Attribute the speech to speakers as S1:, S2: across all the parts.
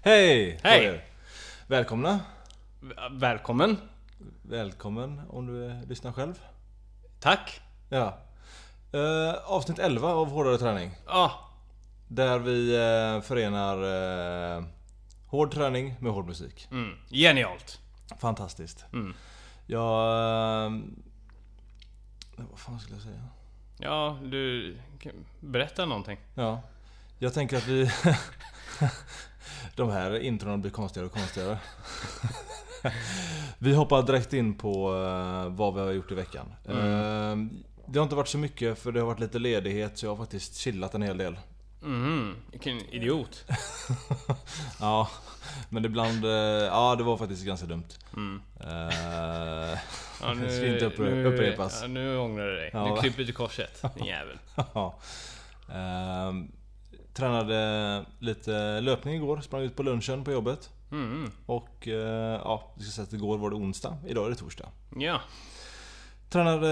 S1: Hej! på
S2: Hej.
S1: er. Välkomna!
S2: V- Välkommen.
S1: Välkommen om du eh, lyssnar själv.
S2: Tack.
S1: Ja. Eh, avsnitt 11 av Hårdare träning.
S2: Ja,
S1: Där vi eh, förenar eh, hård träning med hård musik.
S2: mm. genialt.
S1: Fantastiskt.
S2: Mm.
S1: Jag... Eh, vad fan skulle jag säga?
S2: Ja, du... kan- Berätta någonting.
S1: Ja. Jag tänker att vi... De här introna blir konstigare och konstigare. vi hoppar direkt in på eh, vad vi har gjort i veckan. Eh, Det har inte varit så mycket för det har varit lite ledighet så jag har faktiskt chillat en hel del.
S2: Mhm, vilken idiot.
S1: Ja, men ibland... eh, Ja, det var faktiskt ganska dumt.
S2: Mm.
S1: Eh,
S2: Ja,
S1: det ska inte uppre- upprepas.
S2: Ja, nu ångrar du dig.
S1: Ja, va?
S2: Nu kryper du till korset, din jävel.
S1: Ja. Ehm, tränade lite löpning igår, sprang ut på lunchen på jobbet.
S2: Mm.
S1: Och eh, ja, vi ska säga att igår var det onsdag, idag är det torsdag.
S2: Ja.
S1: Tränade,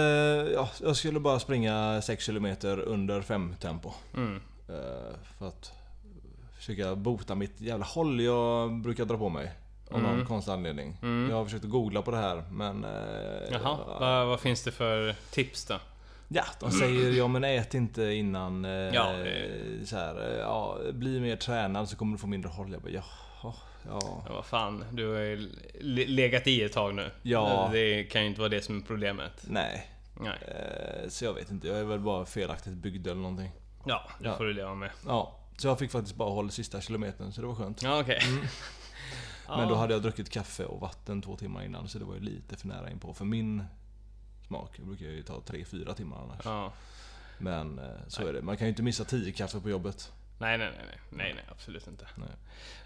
S1: ja, jag skulle bara springa 6 km under 5 tempo.
S2: Mm.
S1: Eh, för att försöka bota mitt jävla håll jag brukar dra på mig. Av någon
S2: Mm.
S1: konstig anledning.
S2: Mm.
S1: Jag har försökt att googla på det här men... eh,
S2: Jaha, vad, vad finns det för tips då?
S1: Ja, de säger ja men ät inte innan. Eh,
S2: Ja, eh.
S1: så här, eh, ja, bli mer tränad så kommer du få mindre håll. Jag bara, jaha, ja.
S2: Ja, vad fan, du har ju le- legat i ett tag nu.
S1: Ja.
S2: Det kan ju inte vara det som är problemet.
S1: Nej.
S2: Nej.
S1: Eh, så jag vet inte, jag är väl bara felaktigt byggd eller någonting.
S2: Ja, det
S1: Ja.
S2: får du leva med.
S1: Ja, så jag fick faktiskt bara håll sista kilometern så det var skönt.
S2: Ja, okej.
S1: Mm. Men då hade jag druckit kaffe och vatten två timmar innan så det var ju lite för nära inpå för min smak. Det brukar ju ta 3-4 timmar annars.
S2: Ja.
S1: Men eh, så är det. Man kan ju inte missa 10 kaffe på jobbet.
S2: Nej, nej, nej, nej, nej, nej, absolut inte.
S1: Nej.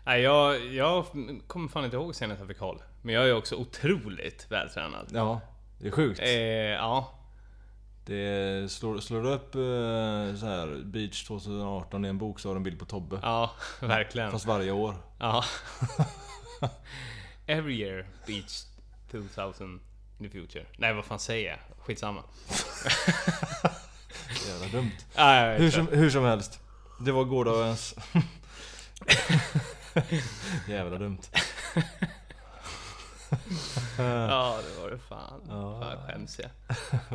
S2: Nej. jag, jag kommer fan inte ihåg senast jag fick håll. Men jag är också otroligt vältränad.
S1: Ja, det är sjukt.
S2: Eh, ja,
S1: Det slår, slår du upp eh, så här, Beach 2018 i en bok så har du en bild på Tobbe.
S2: ja, verkligen.
S1: Fast varje år.
S2: Ja. Every year beach 2000 in the future. Nej, vad fan säger jag? Skitsamma.
S1: Jävla dumt.
S2: Ah, jag vet
S1: Hur
S2: inte.
S1: som, hur som helst. Det var gårdagens... Jävla dumt.
S2: Ja, det var det fan.
S1: Ja.
S2: Fan, jag skäms jag.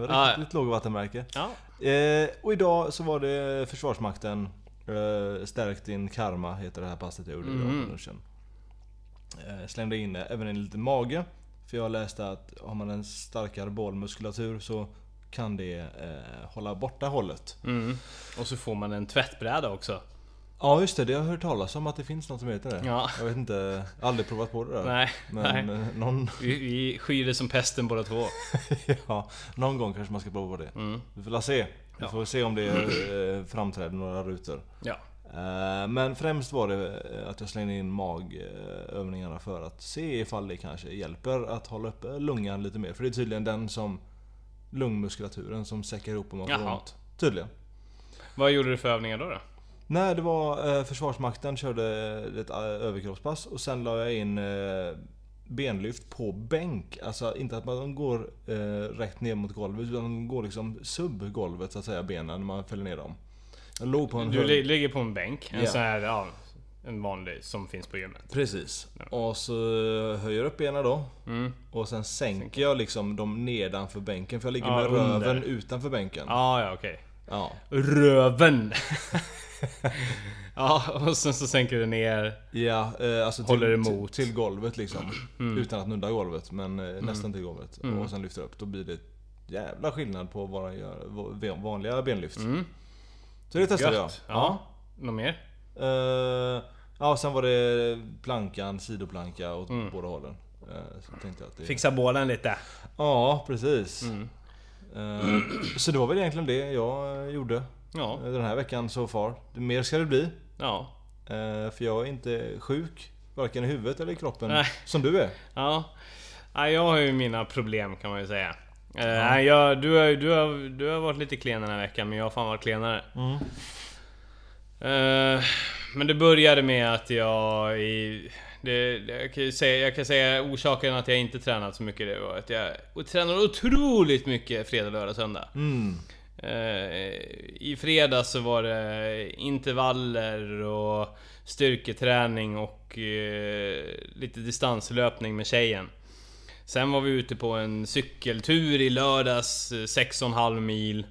S2: Ja.
S1: Riktigt lågvattenmärke.
S2: Ja.
S1: Eh, och idag så var det Försvarsmakten eh, Stärk din karma heter det här passet jag gjorde idag på
S2: Mhm.
S1: lunchen. Eh, slängde in eh, även en liten mage. För jag läste att har man en starkare bålmuskulatur så kan det eh, hålla borta hållet.
S2: Mm. Och så får man en tvättbräda också.
S1: Ja just det, det har jag hört talas om att det finns något som heter det.
S2: Ja.
S1: Jag vet inte, jag har aldrig provat på det där.
S2: Nej,
S1: Men
S2: nej.
S1: eh, någon,
S2: Vi, vi skyr det som pesten båda två.
S1: ja, någon gång kanske man ska prova på det.
S2: Mm.
S1: Vi får la se. Vi
S2: Ja.
S1: får se om det eh, framträder några rutor.
S2: Ja.
S1: Eh, Men främst var det eh, att jag slängde in magövningarna för att se ifall det kanske hjälper att hålla upp eh, lungan lite mer. För det är tydligen den som lungmuskulaturen som säcker ihop om man får
S2: Jaha.
S1: ont. Tydligen.
S2: Vad gjorde du för övningar då? då?
S1: Nej, det var eh, Försvarsmakten körde ett eh, överkroppspass och sen la jag in eh, benlyft på bänk. Alltså inte att man går eh, rätt ner mot golvet utan de går liksom sub golvet så att säga benen när man fäller ner dem. Jag låg på en
S2: Du
S1: hög-
S2: li- ligger på en bänk, en
S1: Ja.
S2: sån här, Mm-hmm. ja, en vanlig som finns på gymmet.
S1: Precis. Och så höjer jag upp benen då.
S2: Mm.
S1: Och sen sänker jag liksom dem nedanför bänken för jag ligger
S2: Ja,
S1: med
S2: under.
S1: röven utanför bänken. Ja.
S2: Ah, ja, okej. Röven! ja, och sen så sänker du ner.
S1: Ja, eh, alltså
S2: Håller
S1: till,
S2: emot. Mm.
S1: till till golvet liksom. Utan att nudda golvet, men eh, nästan till golvet. Och sen lyfter upp. Då blir det jävla skillnad på vad jag gör, vad- vanliga benlyft.
S2: Mm.
S1: Så det testade
S2: Gött.
S1: jag.
S2: Ja. Något mer?
S1: Eh, ja, sen var det plankan, sidoplanka åt
S2: Mm.
S1: båda hållen. Eh, så tänkte jag att det...
S2: Fixa bålen lite.
S1: Ja, precis.
S2: Mm.
S1: Eh, så det var väl egentligen det jag eh, gjorde
S2: Ja.
S1: eh, den här veckan so far. Mer ska det bli.
S2: Ja.
S1: Eh, för jag är inte sjuk, varken i huvudet eller i kroppen.
S2: Nej.
S1: Som du är.
S2: Ja. ja. Jag har ju mina problem kan man ju säga. Eh, nej, jag, du, har, ju- du, har, du har varit lite klen den här veckan men jag har fan varit klenare. Eh, men det började med att jag i... Det, det, jag, kan ju säga, jag kan säga orsaken att jag inte tränat så mycket det var att jag och tränade otroligt mycket fredag, lördag, söndag.
S1: Mm.
S2: Eh, I fredags så var det intervaller och styrketräning och eh, lite distanslöpning med tjejen. Sen var vi ute på en cykeltur i lördags, eh, 6,5 mil.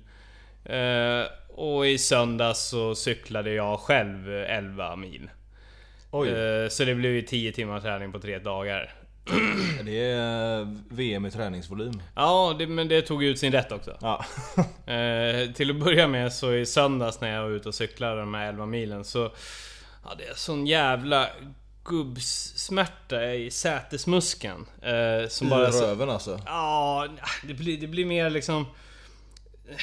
S2: Eh, och i söndags så cyklade jag själv eh, 11 mil.
S1: Oj,
S2: Eh, Så det blev ju 10 timmar träning på tre dagar.
S1: det är VM i träningsvolym.
S2: Ja, det, men det tog ut sin rätt också.
S1: Ja.
S2: Eh, till att börja med så i söndags när jag var ute och cyklade de här 11 milen så hade jag sån jävla gubbsmärta i sätesmuskeln. Eh, som
S1: I
S2: bara... så-
S1: röven alltså.
S2: Ja, det blir, det blir mer liksom... eh,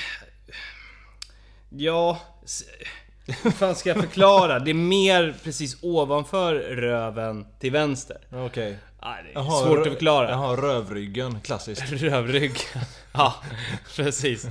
S2: Ja... s- Hur fan ska jag förklara? Det är mer precis ovanför röven till vänster.
S1: Okej.
S2: Nej, det är
S1: Jaha,
S2: svårt
S1: rö-
S2: att förklara.
S1: Jaha, rövryggen. Klassiskt.
S2: Rövryggen. ja, precis.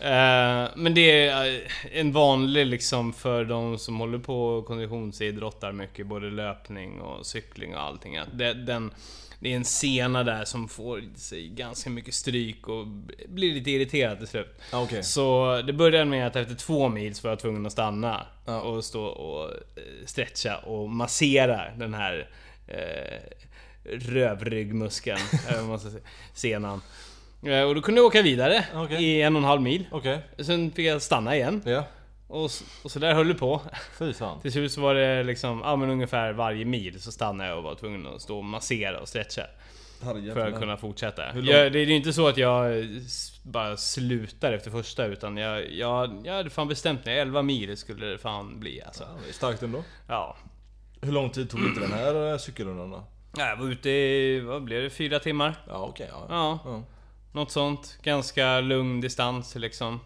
S2: Eh, men det är eh, en vanlig liksom för de som håller på och konditionsidrottar mycket, både löpning och cykling och allting. Att det, den, det är en sena där som får i sig ganska mycket stryk och blir lite irriterad till slut.
S1: Ja, Okej.
S2: Så det började med att efter två mil så var jag tvungen att stanna
S1: Ja.
S2: och stå och eh, stretcha och massera den här eh, rövryggmuskeln, eller vad man ska säga, senan. Eh, Och då kunde jag åka vidare
S1: Okej.
S2: i en och en halv mil.
S1: Okej.
S2: Sen fick jag stanna igen
S1: Ja.
S2: och, s- och så där höll det på.
S1: Fy fan.
S2: Till slut så var det liksom, ja men ungefär varje mil så stannade jag och var tvungen att stå och massera och stretcha. För att kunna fortsätta.
S1: Hur lång-
S2: Jag, det är ju inte så att jag s- bara slutar efter första utan jag, jag, jag hade fan bestämt mig. 11 mil skulle det fan bli alltså.
S1: Ja, det är starkt ändå.
S2: Ja.
S1: Hur lång tid tog inte den här eh, cykelrundan då?
S2: Jag var ute i, vad blev det, fyra timmar?
S1: Ja okej. ja.
S2: Ja.
S1: Ja.
S2: Något sånt. Ganska lugn distans liksom.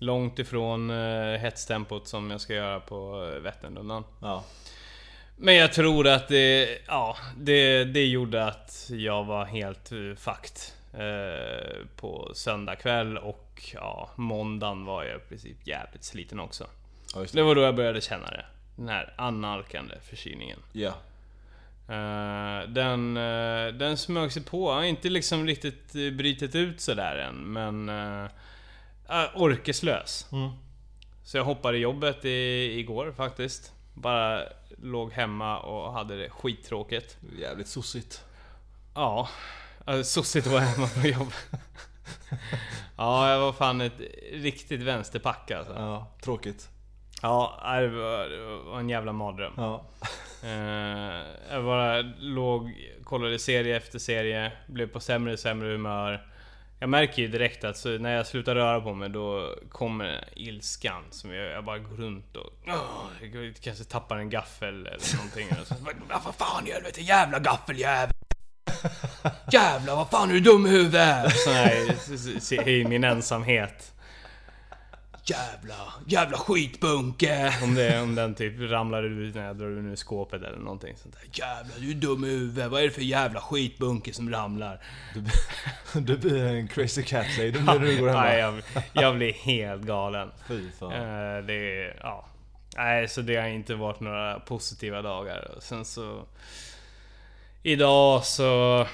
S2: Långt ifrån eh, hetstempot som jag ska göra på eh, Vätternrundan.
S1: ja.
S2: Men jag tror att det, ja, det, det gjorde att jag var helt eh, fakt eh, på söndag kväll och ja, måndagen var jag i princip jävligt sliten också.
S1: Ja, just
S2: Det var då jag började känna det. Den här annalkande förkylningen.
S1: Ja.
S2: Eh, den, eh, den smög sig på. Jag har inte liksom riktigt eh, brutit ut sådär än, men... eh, eh, orkeslös.
S1: Mm.
S2: Så jag hoppade jobbet i, igår faktiskt. Bara låg hemma och hade det skittråkigt.
S1: Jävligt sossigt.
S2: Ja, eh, sossigt att vara hemma på jobb. ja, jag var fan ett riktigt vänsterpack alltså.
S1: Ja, tråkigt.
S2: Ja, det var, det var en jävla mardröm.
S1: Ja.
S2: Eh, jag bara låg, kollade serie efter serie, blev på sämre och sämre humör. Jag märker ju direkt att så när jag slutar röra på mig då kommer ilskan. Som jag, jag bara går runt och åh, jag kanske tappar en gaffel eller någonting. Och så, bara, vad fan i helvete jävla gaffeljävel! Jävlar vad fan är du dum i huvudet? Så här, s- s- I min ensamhet.
S3: Jävla, jävla skitbunke!
S2: Om, det, om den typ ramlar ut när jag drar ur ur skåpet eller någonting sånt där.
S3: Jävla, du är dum i huvudet. Vad är det för jävla skitbunke som ramlar?
S1: Du blir en crazy cat lady när du går
S2: Nej,
S1: hemma.
S2: jag, jag blir helt galen.
S1: Fy fan.
S2: Eh, Det är, ja. Nej, så det har inte varit några positiva dagar. Och Sen så... Idag så...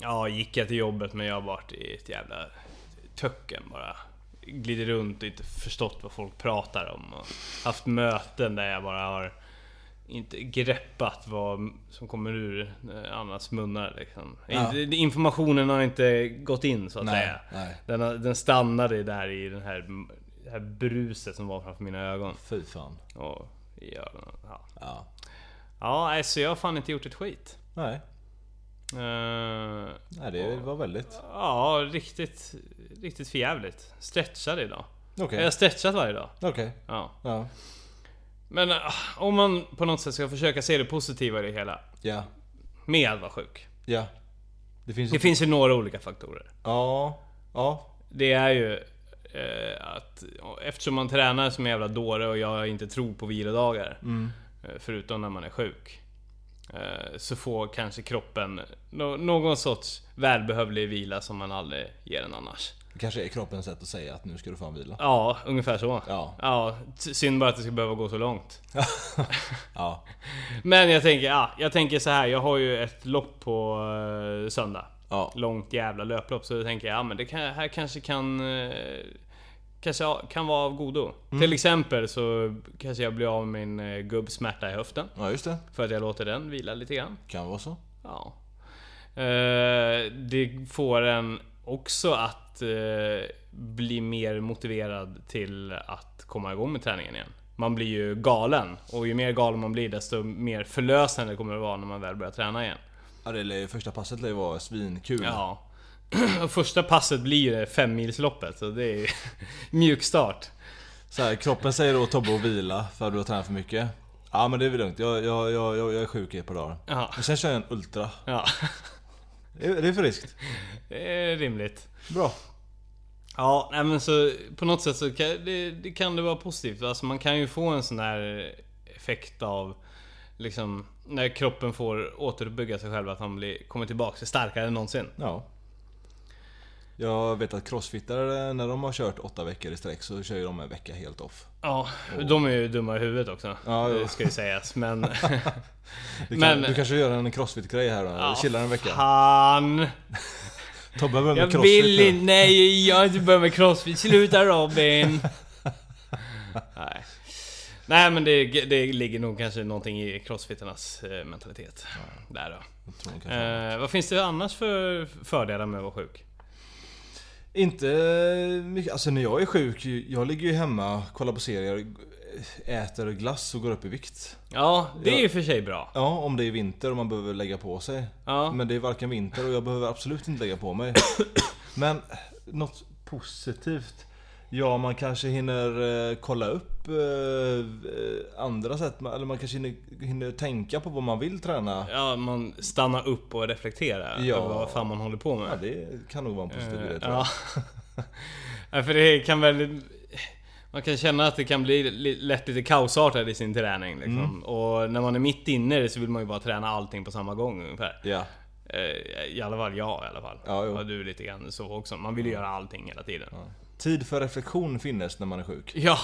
S2: Ja, gick jag till jobbet men jag har varit i ett jävla töcken bara. Glider runt och inte förstått vad folk pratar om. Och haft möten där jag bara har inte greppat vad som kommer ur eh, annans munnar. Liksom.
S1: Ja.
S2: Inte- Informationen har inte gått in så att
S1: Nej,
S2: säga.
S1: nej.
S2: Den, har- den stannade där i den här, det här bruset som var framför mina ögon.
S1: Fy fan.
S2: Och i ögonen. Ja,
S1: Ja.
S2: ja nej, så jag har fan inte gjort ett skit.
S1: Nej.
S2: Eh,
S1: Nej, det var väldigt.
S2: ja, riktigt, riktigt förjävligt. Stretchade idag. Jag
S1: Okej.
S2: har stretchat varje dag.
S1: Okej.
S2: Ja.
S1: Ja.
S2: Men ah, om man på något sätt ska försöka se det positiva i det hela.
S1: Ja.
S2: Med att vara sjuk.
S1: Ja. Det finns
S2: Det
S1: inte-
S2: finns ju några olika faktorer.
S1: Ja. Ja.
S2: Det är ju eh, att eftersom man tränar som en jävla dåre och jag inte tror på vilodagar. eh, Förutom när man är sjuk. eh, Så får kanske kroppen nå- någon sorts välbehövlig vila som man aldrig ger den annars.
S1: Det kanske är kroppens sätt att säga att nu ska du fan vila.
S2: Ja, ungefär så.
S1: Ja.
S2: ja t- synd bara att det ska behöva gå så långt.
S1: Ja.
S2: Men jag tänker, ja, jag tänker så här. Jag har ju ett lopp på eh, söndag.
S1: Ja.
S2: Långt jävla löplopp. Så då tänker jag, ja men det kan, här kanske kan... eh, kanske ha- kan vara av godo. Till exempel så kanske jag blir av med min eh, gubbsmärta i höften.
S1: Ja, just det.
S2: För att jag låter den vila lite grann.
S1: Kan vara så.
S2: Ja. Eh, det får en också att eh, bli mer motiverad till att komma igång med träningen igen. Man blir ju galen och ju mer galen man blir desto mer förlösande kommer det vara när man väl börjar träna igen.
S1: Ja, det lär ju, första passet lär ju vara svinkul.
S2: Ja. Och första passet blir ju det femmilsloppet så det är ju mjuk start.
S1: Så här, kroppen säger då Tobbe att vila för att du har tränat för mycket. Ja men det är väl lugnt, jag, jag, jag, jag, jag är sjuk i ett par dagar.
S2: Ja.
S1: Men sen kör jag en Ultra.
S2: ja.
S1: Det är, det är friskt.
S2: Det är rimligt.
S1: Bra.
S2: Ja, nej men så på något sätt så kan det, det, kan det vara positivt. Alltså man kan ju få en sån här effekt av liksom när kroppen får återuppbygga sig själv att man blir, kommer tillbaka starkare än någonsin.
S1: Ja. Jag vet att crossfittare när de har kört åtta veckor i sträck så kör ju de en vecka helt off.
S2: Ja, Oh. de är ju dumma i huvudet också.
S1: Ja, jo.
S2: det ska ju sägas. Men...
S1: Du, kan,
S2: Men-
S1: du kanske gör en crossfit-grej här då? Ja, Chillar en vecka?
S2: Fan!
S1: Tobbe behöver
S2: Jag
S1: med crossfit
S2: vill
S1: nu.
S2: inte, nej jag har inte börjat med crossfit. Sluta Robin! nej. nej men det, det ligger nog kanske någonting i crossfitternas eh, mentalitet. Där då.
S1: Jag tror hon kan få-
S2: Eh, vad finns det annars för fördelar med att vara sjuk?
S1: Inte mycket. Alltså när jag är sjuk, jag ligger ju hemma, kollar på serier, äter glass och går upp i vikt.
S2: Ja, det är
S1: Ja.
S2: ju för sig bra.
S1: Ja, om det är vinter och man behöver lägga på sig.
S2: Ja.
S1: Men det är varken vinter och jag behöver absolut inte lägga på mig. Men något positivt. Ja, man kanske hinner eh, kolla upp eh, eh, andra sätt. Man- Eller man kanske hinner, hinner tänka på vad man vill träna.
S2: Ja, man stannar upp och reflekterar
S1: Ja.
S2: över vad fan man håller på med.
S1: Ja, det kan nog vara en positiv
S2: Eh,
S1: grej tror jag.
S2: ja. ja, för det kan väl... Man kan känna att det kan bli li- lätt lite kaosartat i sin träning liksom. Och när man är mitt inne i det så vill man ju bara träna allting på samma gång ungefär.
S1: Ja.
S2: Eh, I alla fall jag i alla fall.
S1: Ja, jo.
S2: och du lite grann så också. Man vill ju göra allting hela tiden.
S1: Tid för reflektion finnes när man är sjuk.
S2: Ja.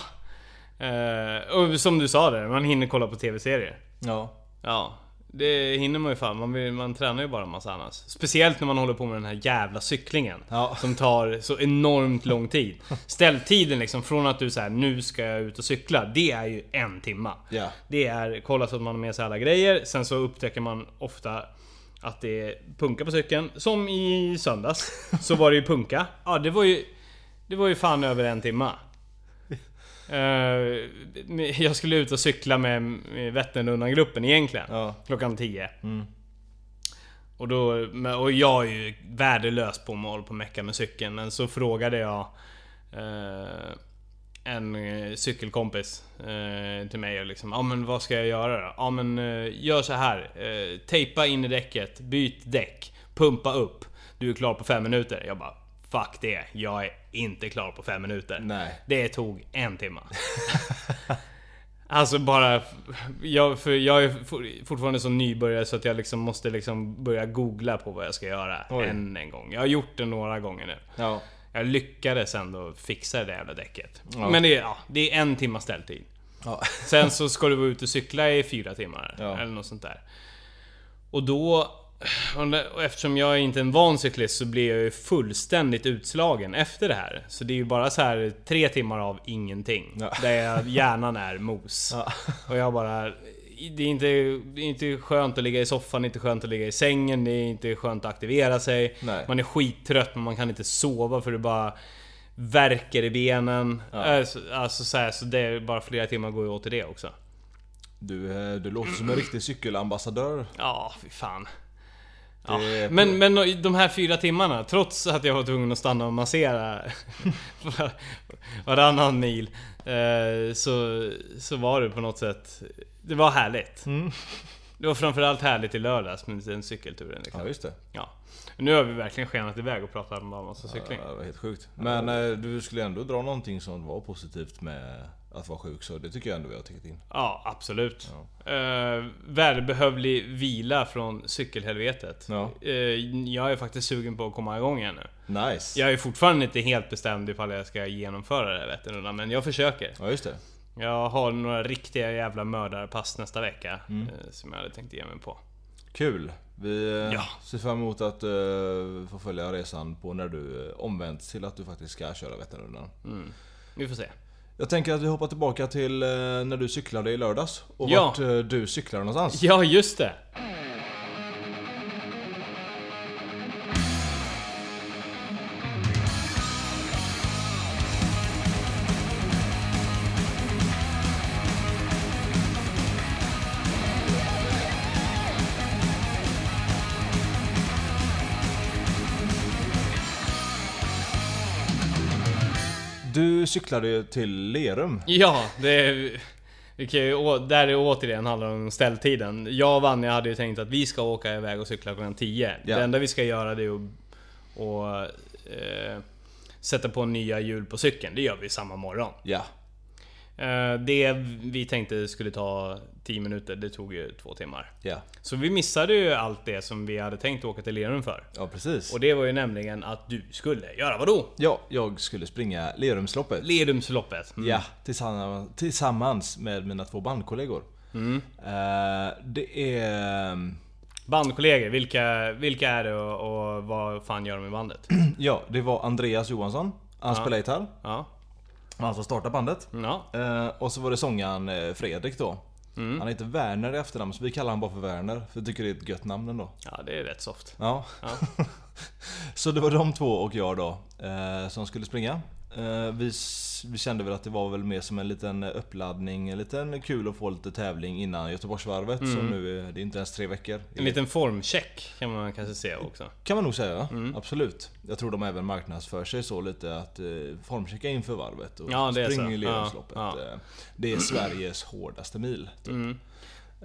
S2: Eh, och som du sa där, man hinner kolla på TV-serier.
S1: Ja.
S2: Ja. Det hinner man ju fan. Man, vill, man tränar ju bara en massa annars. Speciellt när man håller på med den här jävla cyklingen.
S1: Ja.
S2: Som tar så enormt lång tid. Ställtiden liksom från att du säger nu ska jag ut och cykla. Det är ju en timma.
S1: Ja.
S2: Det är kolla så att man har med sig alla grejer. Sen så upptäcker man ofta att det är punka på cykeln. Som i söndags. Så var det ju punka. Ja, det var ju... Det var ju fan över en timma. Eh, jag skulle ut och cykla med med Vätternrundan-gruppen egentligen.
S1: Ja.
S2: Klockan 10. Och, då, men- och jag är ju värdelös på att hålla på och mecka med cykeln. Men så frågade jag eh, en eh, cykelkompis eh, till mig och liksom, ja ah, men vad ska jag göra då? Ja ah, men eh, gör så här. Eh, tejpa in i däcket, byt däck, pumpa upp. Du är klar på fem minuter. Jag bara, fuck det. Jag är inte klar på fem minuter.
S1: Nej.
S2: Det tog en timme. Alltså bara... Jag, för jag är for- fortfarande så nybörjare så att jag liksom måste liksom börja googla på vad jag ska göra.
S1: Oj.
S2: Än en gång. Jag har gjort det några gånger nu.
S1: Ja.
S2: Jag lyckades ändå fixa det där jävla däcket.
S1: Ja.
S2: Men det är, ja, det är en timma ställtid.
S1: Ja.
S2: Sen så ska du vara ute och cykla i fyra timmar.
S1: Ja.
S2: Eller något sånt där. Och då... Och eftersom jag inte är en van cyklist så blir jag ju fullständigt utslagen efter det här. Så det är ju bara så här tre timmar av ingenting.
S1: Ja.
S2: Där jag, hjärnan är mos.
S1: Ja.
S2: Och jag bara... Det är, inte, det är inte skönt att ligga i soffan, det är inte skönt att ligga i sängen, det är inte skönt att aktivera sig.
S1: Nej.
S2: Man är skittrött men man kan inte sova för det bara värker i benen. Alltså, alltså så, här, så det är bara flera timmar går ju åt till det också.
S1: Du, eh, du låter som en riktig cykelambassadör.
S2: Ja, Ah, fy fan. Ja.
S1: Det är-
S2: Men, men de här fyra timmarna, trots att jag var tvungen att stanna och massera var- varannan mil. eh, Så, så var det på något sätt... Det var härligt. Det var framförallt härligt i lördags med den cykelturen. Liksom.
S1: Ja just det.
S2: Ja. Nu har vi verkligen skenat iväg och pratat om bara massa cykling.
S1: Ja, det var helt sjukt. Men eh, du skulle ändå dra någonting som var positivt med att vara sjuk så det tycker jag ändå vi har täckt in.
S2: Ja, absolut. Eh, välbehövlig vila från cykelhelvetet.
S1: Ja.
S2: Eh, jag är faktiskt sugen på att komma igång igen nu.
S1: Nice!
S2: Jag är fortfarande inte helt bestämd ifall jag ska genomföra det här Vätternrundan, men jag försöker.
S1: Ja just det.
S2: Jag har några riktiga jävla mördarpass nästa vecka eh, som jag hade tänkt ge mig på.
S1: Kul! Vi eh,
S2: Ja.
S1: ser fram emot att
S2: Mm.
S1: eh, få följa resan på när du eh, omvänds till att du faktiskt ska köra Vätternrundan.
S2: Vi får se.
S1: Jag tänker att vi hoppar tillbaka till eh, när du cyklade i lördags. Och
S2: Ja.
S1: vart eh, du cyklade någonstans.
S2: Ja, just det!
S1: Du cyklade ju till Lerum.
S2: Ja, det... är- Vi kan ju, å- där det återigen handlar om ställtiden. Jag och Vanja hade ju tänkt att vi ska åka iväg och cykla klockan 10.
S1: Ja.
S2: Det enda vi ska göra det är att och, eh, sätta på nya hjul på cykeln. Det gör vi samma morgon.
S1: Ja.
S2: Eh, det vi tänkte skulle ta 10 minuter, det tog ju två timmar.
S1: Ja.
S2: Så vi missade ju allt det som vi hade tänkt åka till Lerum för.
S1: Ja, precis.
S2: Och det var ju nämligen att du skulle göra vadå?
S1: Ja, jag skulle springa Lerumsloppet.
S2: Lerumsloppet. Mm.
S1: Ja, tillsammans, tillsammans med mina två bandkollegor.
S2: Mm.
S1: Eh, det är...
S2: Bandkollegor, vilka, vilka är det och, och vad fan gör de i bandet?
S1: Ja, det var Andreas Johansson. Han spelade gitarr.
S2: Ja.
S1: Han som startade bandet.
S2: ja.
S1: Eh, och så var det sångaren eh, Fredrik då.
S2: Mm.
S1: Han heter Werner i efternamn, så vi kallar han bara för Werner. För jag tycker det är ett gött namn ändå.
S2: Ja, det är rätt soft.
S1: Ja. så det var de två och jag då eh, som skulle springa. Eh, vi, s- vi kände väl att det var väl mer som en liten uppladdning, en liten kul att få lite tävling innan Göteborgsvarvet. Så nu är Mm. det inte ens tre veckor.
S2: En liten formcheck kan man kanske se också.
S1: Kan man nog säga,
S2: Mm.
S1: absolut. Jag tror de även marknadsför sig så lite att eh, formchecka inför varvet och
S2: Ja, det är
S1: spring
S2: så.
S1: i Lerumsloppet.
S2: Ja, Mm. ja.
S1: Eh, Det är Sveriges hårdaste mil. Typ.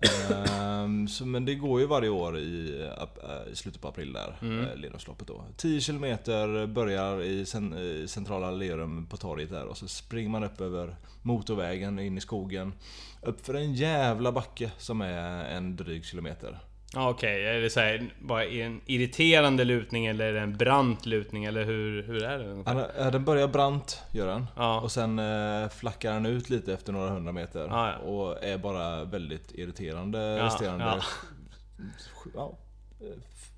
S1: Ehm, så, men det går ju varje år i, eh, ap- eh, i slutet på april där, mm. Lerumsloppet då. 10 km börjar i, cen- i centrala Lerum på torget där och så springer man upp över motorvägen in i skogen. Upp för en jävla backe som är en dryg kilometer.
S2: Ja, Okej, är det så här, bara en irriterande lutning eller är det en brant lutning eller hur, hur är det? ungefär?
S1: Han, eh, den börjar brant, gör den.
S2: Ja.
S1: Och sen eh, flackar den ut lite efter några hundra meter.
S2: Ah, Ja, ja.
S1: Och är bara väldigt irriterande.
S2: Ja,
S1: resterande
S2: ja.
S1: sju- ja, eh,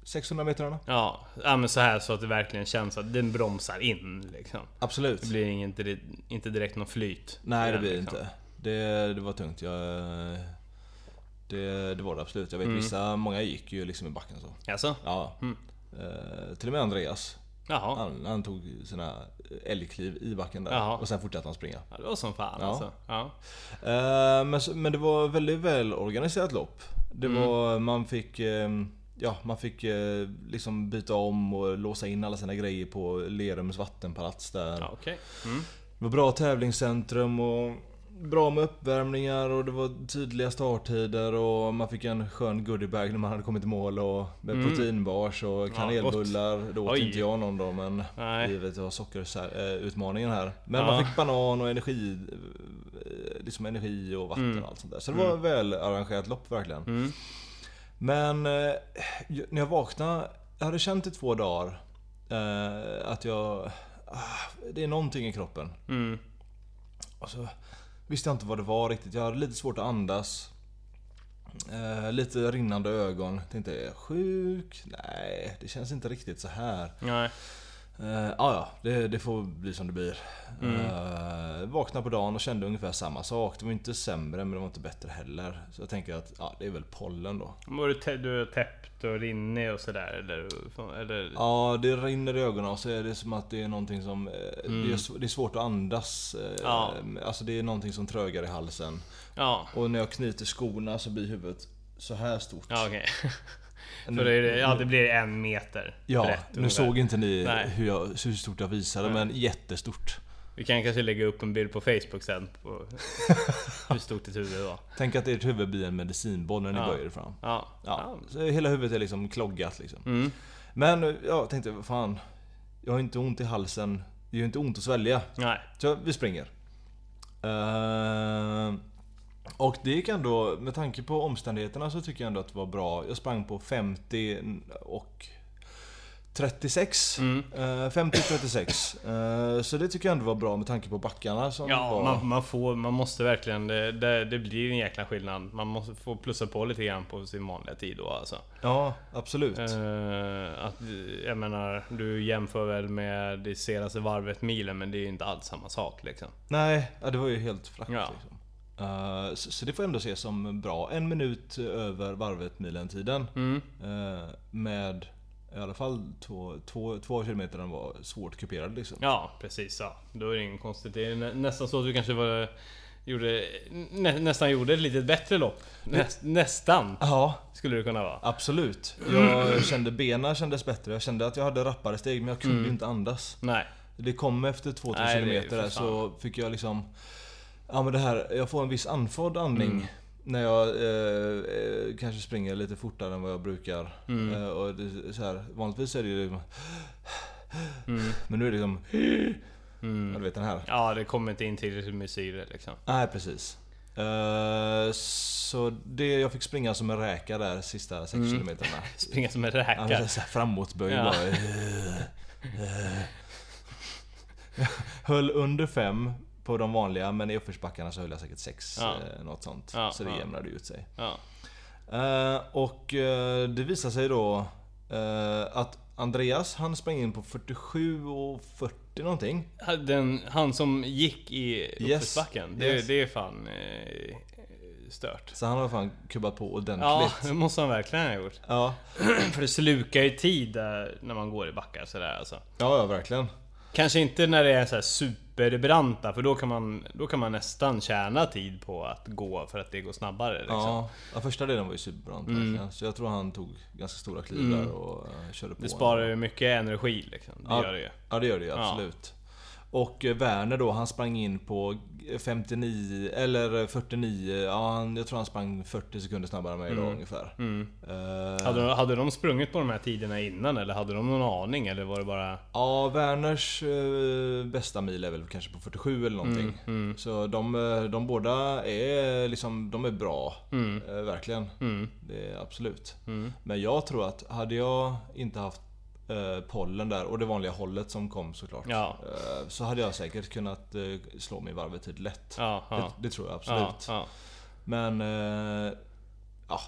S1: 600 metrarna.
S2: Ja, ja, men så här så att det verkligen känns att den bromsar in liksom.
S1: Absolut.
S2: Det blir ingen, dir- inte direkt någon flyt. i
S1: Nej det
S2: den,
S1: blir det
S2: liksom.
S1: inte. Det, det var tungt. Jag, eh, det, det var det absolut. Jag vet
S2: Mm.
S1: vissa, många gick ju liksom i backen så.
S2: Jaså?
S1: Ja.
S2: Mm.
S1: Eh, till och med Andreas.
S2: Jaha.
S1: Han, han tog sina älgkliv i backen där.
S2: Jaha.
S1: Och sen fortsatte han springa.
S2: Ja, det var som fan
S1: Ja.
S2: alltså. Ja.
S1: Eh, men, så- men det var väldigt väl organiserat lopp. Det
S2: Mm.
S1: var, man fick, eh, ja, man fick eh, liksom byta om och låsa in alla sina grejer på Lerums vattenpalats där.
S2: Ja, okej. Mm.
S1: Det var bra tävlingscentrum och bra med uppvärmningar och det var tydliga starttider och man fick en skön goodiebag när man hade kommit i mål och med proteinbars och kanelbullar. Då åt
S2: Mm. Oj.
S1: inte jag någon då men
S2: Nej.
S1: givet att jag har sockerutmaningen här. Men
S2: Ja.
S1: man fick banan och energi, eh, liksom energi och vatten
S2: Mm.
S1: och allt sånt där. Så det var ett väl arrangerat lopp verkligen. Men eh, jag- när jag vaknade, jag hade känt i två dagar eh, att jag... ah, Det är någonting i kroppen.
S2: Mm.
S1: Och så visste jag inte vad det var riktigt. Jag hade lite svårt att andas. Eh, lite rinnande ögon. Tänkte, är jag sjuk? Nej, det känns inte riktigt så här.
S2: Nej.
S1: Eh, ah, ja, det, det får bli som det blir. Eh, vaknade på dagen och kände ungefär samma sak. Det var inte sämre men det var inte bättre heller. Så jag tänker att ja, det är väl pollen då.
S2: Var du, tä- du är täppt och rinnig och sådär eller? eller
S1: Ja, det rinner i ögonen och så är det som att det är någonting som... eh, Det, är, sv- det är svårt att andas. eh,
S2: Ja.
S1: Alltså det är någonting som trögar i halsen.
S2: ja.
S1: Och när jag knyter skorna så blir huvudet så här stort.
S2: Ja okej. För det, är det- ja, det blir en meter
S1: Ja,
S2: brett
S1: nu
S2: ungefär.
S1: såg inte ni
S2: Nej.
S1: hur, jag, hur stort jag visade, men jättestort.
S2: Vi kan kanske lägga upp en bild på Facebook sen på hur stort ditt huvud var.
S1: Tänk att ert huvud blir en medicinboll när ni
S2: Ja.
S1: böjer er fram.
S2: Ja.
S1: Ja,
S2: ja. Mm.
S1: så hela huvudet är liksom kloggat liksom. Men ja, jag tänkte, vad fan. Jag har inte ont i halsen. Det gör inte ont att svälja.
S2: Nej.
S1: Så vi springer. Eh, och det gick ändå, med tanke på omständigheterna så tycker jag ändå att det var bra. Jag sprang på 50 och 36.
S2: Mm.
S1: Eh, 50-36. Eh, så det tycker jag ändå var bra med tanke på backarna som
S2: Ja,
S1: var...
S2: man, man, får, man måste verkligen... Det, det, det blir en jäkla skillnad. Man måste få plussa på lite grann på sin vanliga tid då alltså.
S1: Ja, absolut.
S2: Eh, att, jag menar, du jämför väl med det senaste varvet milen men det är ju inte alls samma sak liksom.
S1: Nej, ja, det var ju helt flackt
S2: Ja.
S1: liksom. Eh, så, så det får jag ändå ses som bra. En minut över varvet milentiden.
S2: Mm.
S1: Eh, med i alla fall två, två, två kilometer den var svårt kuperad liksom.
S2: Ja, precis. Ja. Då är det ingen konstigt. Det är nä- nästan så att du kanske var, gjorde, nä, nästan gjorde ett litet bättre lopp. Näst, nästan,
S1: Ja,
S2: skulle det kunna vara.
S1: absolut.
S2: Mm.
S1: Jag kände benen kändes bättre. Jag kände att jag hade rappare steg men jag kunde
S2: Mm.
S1: inte andas.
S2: Nej.
S1: Det kom efter 2000
S2: Nej, det är ju
S1: kilometer där
S2: för fan.
S1: så fick jag liksom... Ja men det här, jag får en viss andfådd andning.
S2: Mm.
S1: När jag eh, eh, kanske springer lite fortare än vad jag brukar.
S2: Mm.
S1: Eh, och det, så här, vanligtvis är det ju liksom,
S2: Mm.
S1: Men nu är det liksom... Ja, du vet den här.
S2: Ja, det kommer inte in tillräckligt med syre liksom.
S1: Nej precis. Eh, så det, jag fick springa som en räka där sista 6
S2: Mm.
S1: kilometerna.
S2: Springa som en
S1: Ja,
S2: räka.
S1: men Alltså, så här framåtböj
S2: Ja.
S1: bara. höll under fem på de vanliga men i uppförsbackarna så höll jag säkert sex.
S2: Ja.
S1: Eh, något sånt.
S2: Ja,
S1: så det
S2: ja.
S1: jämnade ut sig.
S2: Ja.
S1: Eh, och eh, det visar sig då eh, att Andreas han sprang in på 47 och 40 någonting.
S2: Den, han som gick i
S1: Yes.
S2: uppförsbacken. Det,
S1: Yes.
S2: det är fan eh, stört.
S1: Så han har fan kubbat på ordentligt.
S2: Ja,
S1: Ja.
S2: det måste han verkligen ha gjort.
S1: Ja,
S2: För det slukar ju tid där, när man går i backar sådär alltså.
S1: ja, verkligen.
S2: Kanske inte när det är så här superbranta för då kan, man, då kan man nästan tjäna tid på att gå för att det går snabbare. Liksom.
S1: Ja, ja, första delen var ju superbrant
S2: Mm.
S1: verkligen. Så jag tror han tog ganska stora kliv där och eh, körde på.
S2: Det sparar ju mycket energi liksom. Det
S1: Ja.
S2: gör det ju.
S1: Ja det gör det ju absolut. Och eh, Werner då, han sprang in på 59, eller 49, ja, han, jag tror han sprang 40 sekunder snabbare än mig idag ungefär. Eh,
S2: Hade, de- hade de sprungit på de här tiderna innan eller hade de någon aning eller var det bara...
S1: ja, Werners eh, bästa mil är väl kanske på 47 eller någonting. Så de, eh, de båda är liksom, de är bra. Eh, verkligen. Det är absolut. Men jag tror att hade jag inte haft eh, pollen där och det vanliga hållet som kom såklart.
S2: Ja.
S1: Eh, Så hade jag säkert kunnat eh, slå mig i varvetid lätt.
S2: Ja, ja,
S1: Det, det tror jag absolut.
S2: ja, ja.
S1: Men... eh, ja.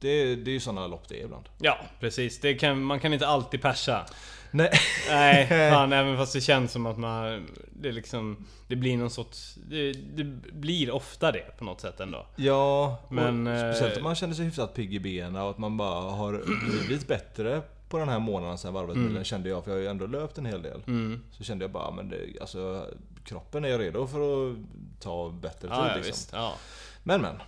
S1: Det, det är ju sådana lopp det är ibland.
S2: ja precis. Det kan, man kan inte alltid persa.
S1: Nej.
S2: Nej, fan, även fast det känns som att man... Det, är liksom, det blir någon sorts... Det, det blir ofta det på något sätt ändå.
S1: Ja, men,
S2: Men,
S1: speciellt
S2: eh,
S1: om man känner sig hyfsat pigg i benen och att man bara har blivit bättre på den här månaden sen varvet mm. kände jag, för jag har ju ändå löpt en hel del.
S2: Mm.
S1: Så kände jag bara, men det, alltså, kroppen är redo för att ta bättre tid.
S2: Ja, ja,
S1: liksom.
S2: visst, ja.
S1: Men men.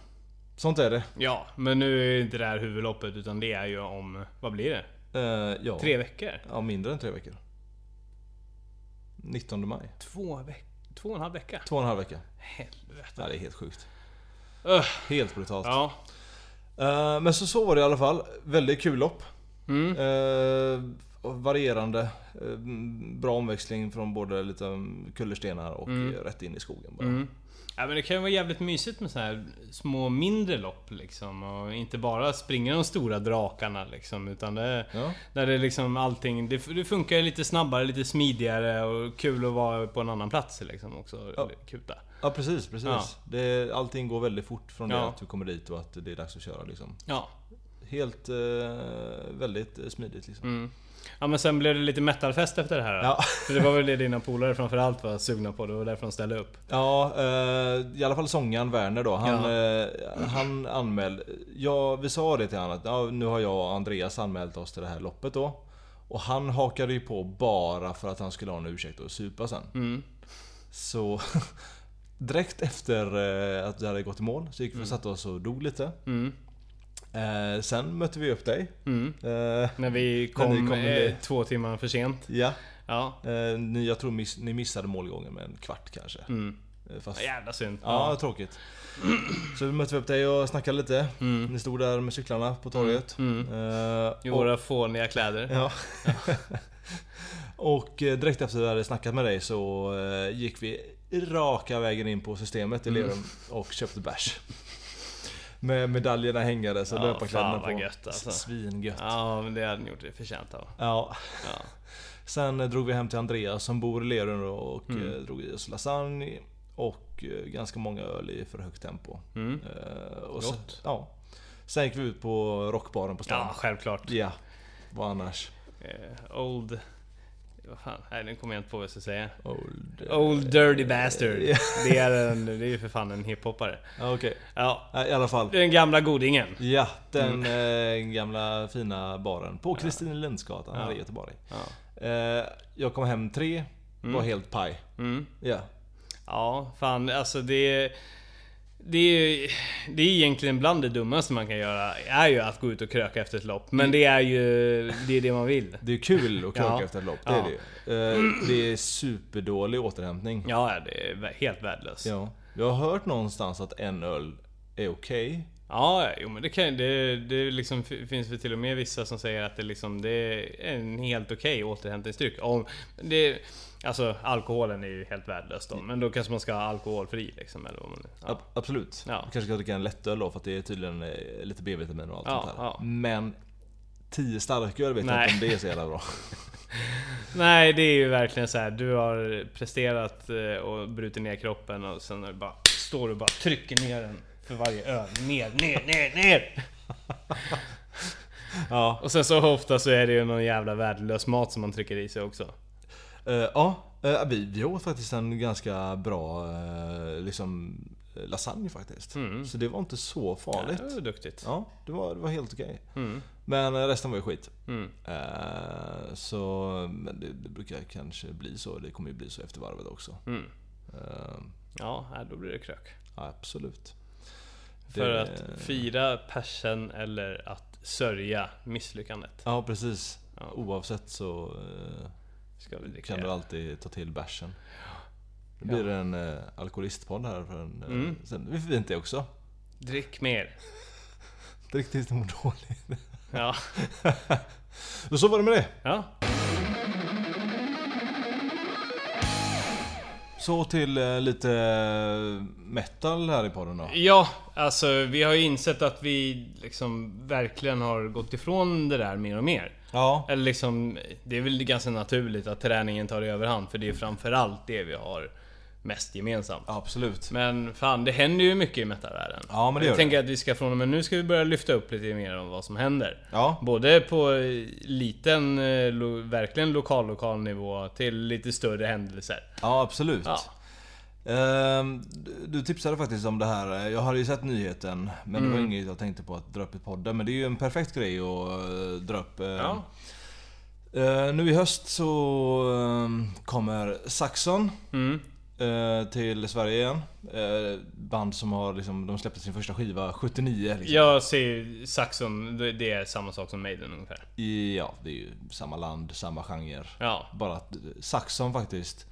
S1: Sånt är det.
S2: Ja, men nu är ju inte det här huvudloppet utan det är ju om... Vad blir det?
S1: Eh, ja.
S2: Tre veckor?
S1: ja, mindre än tre veckor. 19 maj.
S2: Två veckor? Två och en halv vecka?
S1: Två och en halv vecka.
S2: Helvete.
S1: Ja, det är helt sjukt.
S2: Öh.
S1: Helt brutalt.
S2: Ja.
S1: Eh, men så, så var det i alla fall. Väldigt kul lopp.
S2: Mm.
S1: Eh, och varierande. Eh, bra omväxling från både lite um, kullerstenar och eh, rätt in i skogen bara.
S2: Mm. Ja, men det kan ju vara jävligt mysigt med så här små mindre lopp liksom. Och inte bara springa de stora drakarna liksom. Utan det...
S1: Ja.
S2: Där det liksom allting... Det, det funkar ju lite snabbare, lite smidigare och kul att vara på en annan plats liksom också.
S1: Ja.
S2: Kuta.
S1: ja, precis. precis.
S2: Ja.
S1: Det, allting går väldigt fort från det
S2: Ja.
S1: att du kommer dit och att det är dags att köra. Liksom.
S2: Ja.
S1: Helt eh, väldigt eh, smidigt
S2: Mm.
S1: liksom.
S2: Ja men sen blev det lite metalfest efter det här då.
S1: Ja.
S2: För det var väl det dina polare framförallt var sugna på, det var därför de ställde upp.
S1: Ja, eh, i alla fall sångaren Werner då. Han, eh, han anmäl... Ja, vi sa det till honom att ja, nu har jag och Andreas anmält oss till det här loppet då. Och han hakade ju på bara för att han skulle ha en ursäkt att supa sen. Så direkt efter eh, att vi hade gått i mål så gick vi och satte oss och dog lite. Eh, sen mötte vi upp dig. Eh,
S2: När vi kom,
S1: När ni kom,
S2: eh,
S1: det-
S2: två timmar för sent.
S1: ja.
S2: Ja.
S1: Eh, ni, jag tror miss, ni missade målgången med en kvart kanske.
S2: Mm.
S1: Eh, Fast
S2: Jävla synd.
S1: Ja, tråkigt. Så vi mötte upp dig och snackade lite.
S2: Mm.
S1: Ni stod där med cyklarna på torget. Eh,
S2: I
S1: och-
S2: våra fåniga kläder.
S1: Ja. och eh, direkt efter vi hade snackat med dig så eh,
S2: Mm.
S1: gick vi raka vägen in på systemet i Lerum och köpte bärs. med medaljerna hängandes och
S2: Ja,
S1: löparkläderna
S2: fan
S1: på.
S2: vad gött, alltså.
S1: Svingött. Ja.
S2: Ja, men det hade ni gjort det förtjänt av. Ja.
S1: Sen eh, drog vi hem till Andreas som bor i Lerum då och eh,
S2: Mm.
S1: drog i oss lasagne och eh, ganska många öl i för högt tempo.
S2: Mm.
S1: Eh, och sen,
S2: Gott.
S1: ja. sen gick vi ut på rockbaren på stan.
S2: ja, självklart.
S1: Ja, vad annars?
S2: Eh, old... Vad fan? Nej, nu kommer jag inte på vad jag ska säga.
S1: Old... eh,
S2: Old Dirty Bastard.
S1: Ja.
S2: Det är en, det är ju för fan en hiphoppare.
S1: Ja, Okej,
S2: Ja,
S1: Ja, i alla fall.
S2: den gamla godingen.
S1: Ja, den eh, gamla fina baren på Kristinelundsgatan här i Göteborg.
S2: Mm. Ja.
S1: Eh, jag kom hem tre, var helt paj.
S2: Mm.
S1: Ja.
S2: Ja, fan alltså det... Det är, det är egentligen bland det dummaste man kan göra, är ju att gå ut och kröka efter ett lopp. Men det är ju det, är det man vill.
S1: Det är kul att kröka
S2: Ja.
S1: efter ett lopp, det
S2: Ja.
S1: är det ju. eh, Det är superdålig återhämtning.
S2: Ja, det är vä- helt värdelöst. Ja,
S1: Ja. Jag har hört någonstans att en öl är okej.
S2: ja jo, men det, kan, det, det liksom, f- finns väl till och med vissa som säger att det, liksom, det är en helt okej återhämtningsdryck. Om det, alltså alkoholen är ju helt värdelös då, men då kanske man ska ha alkoholfri liksom. Eller vad man, ja.
S1: Ab- Absolut.
S2: Ja.
S1: Du kanske ska dricka en lättöl då för att det är tydligen eh, lite B-vitamin och allt
S2: Ja,
S1: sånt där.
S2: ja.
S1: Men 10 starköl vet jag
S2: Nej.
S1: inte om det är så jävla bra.
S2: Nej, det är ju verkligen så här. Du har presterat eh, och brutit ner kroppen och sen är det bara, står du och bara trycker ner den för varje öl. Ner, ner, ner, ner!
S1: ja.
S2: Och sen så ofta så är det ju någon jävla värdelös mat som man trycker i sig också.
S1: Eh, ja. Eh, vi, vi åt faktiskt en ganska bra eh, liksom, eh, lasagne faktiskt.
S2: Mm.
S1: Så det var inte så
S2: Ja,
S1: farligt.
S2: det var duktigt.
S1: Ja, det var, det var helt okej.
S2: Mm.
S1: Men eh, resten var ju skit.
S2: Mm.
S1: Eh, så men det, det brukar kanske bli så. Det kommer ju bli så efter varvet också.
S2: Mm.
S1: Eh,
S2: Ja, här, då blir det krök.
S1: ja, absolut.
S2: För
S1: Det-
S2: att fira persen eller att sörja misslyckandet.
S1: Ja, precis.
S2: Ja.
S1: Oavsett så eh,
S2: Ska vi dricka.
S1: kan du alltid ta till bärsen. Det blir en eh, alkoholistpodd här. För en, eh,
S2: Mm.
S1: sen, det är fint det också.
S2: Drick mer.
S1: Drick tills du mår dåligt.
S2: Ja.
S1: Och så var det med det.
S2: ja.
S1: Så till eh, lite eh, metal här i podden då.
S2: Ja, alltså vi har ju insett att vi liksom verkligen har gått ifrån det där mer och mer.
S1: Ja.
S2: Eller liksom, det är väl ganska naturligt att träningen tar överhand för det är framförallt det vi har mest gemensamt.
S1: Absolut.
S2: Men fan, det händer ju mycket i metavärlden.
S1: Ja, men det
S2: jag
S1: gör
S2: tänker att vi ska från och med nu ska vi börja lyfta upp lite mer om vad som händer.
S1: Ja.
S2: Både på eh, liten, eh, lo, verkligen lokal lokal nivå till lite större händelser.
S1: Ja, absolut.
S2: Ja.
S1: Ehm, du- Du tipsade faktiskt om det här. Jag hade ju sett nyheten, men det
S2: Mm.
S1: var inget jag tänkte på att dra upp i podden. Men det är ju en perfekt grej att eh, dra upp. eh.
S2: Ja.
S1: Eh, Nu i höst så eh, kommer Saxon
S2: Mm.
S1: eh, till Sverige igen. Eh, Band som har liksom, de släppte sin första skiva 79. Liksom.
S2: Jag ser ju Saxon, det det är samma sak som Maiden ungefär.
S1: I- Ja, det är ju samma land, samma genre.
S2: Ja,
S1: Bara att eh, Saxon faktiskt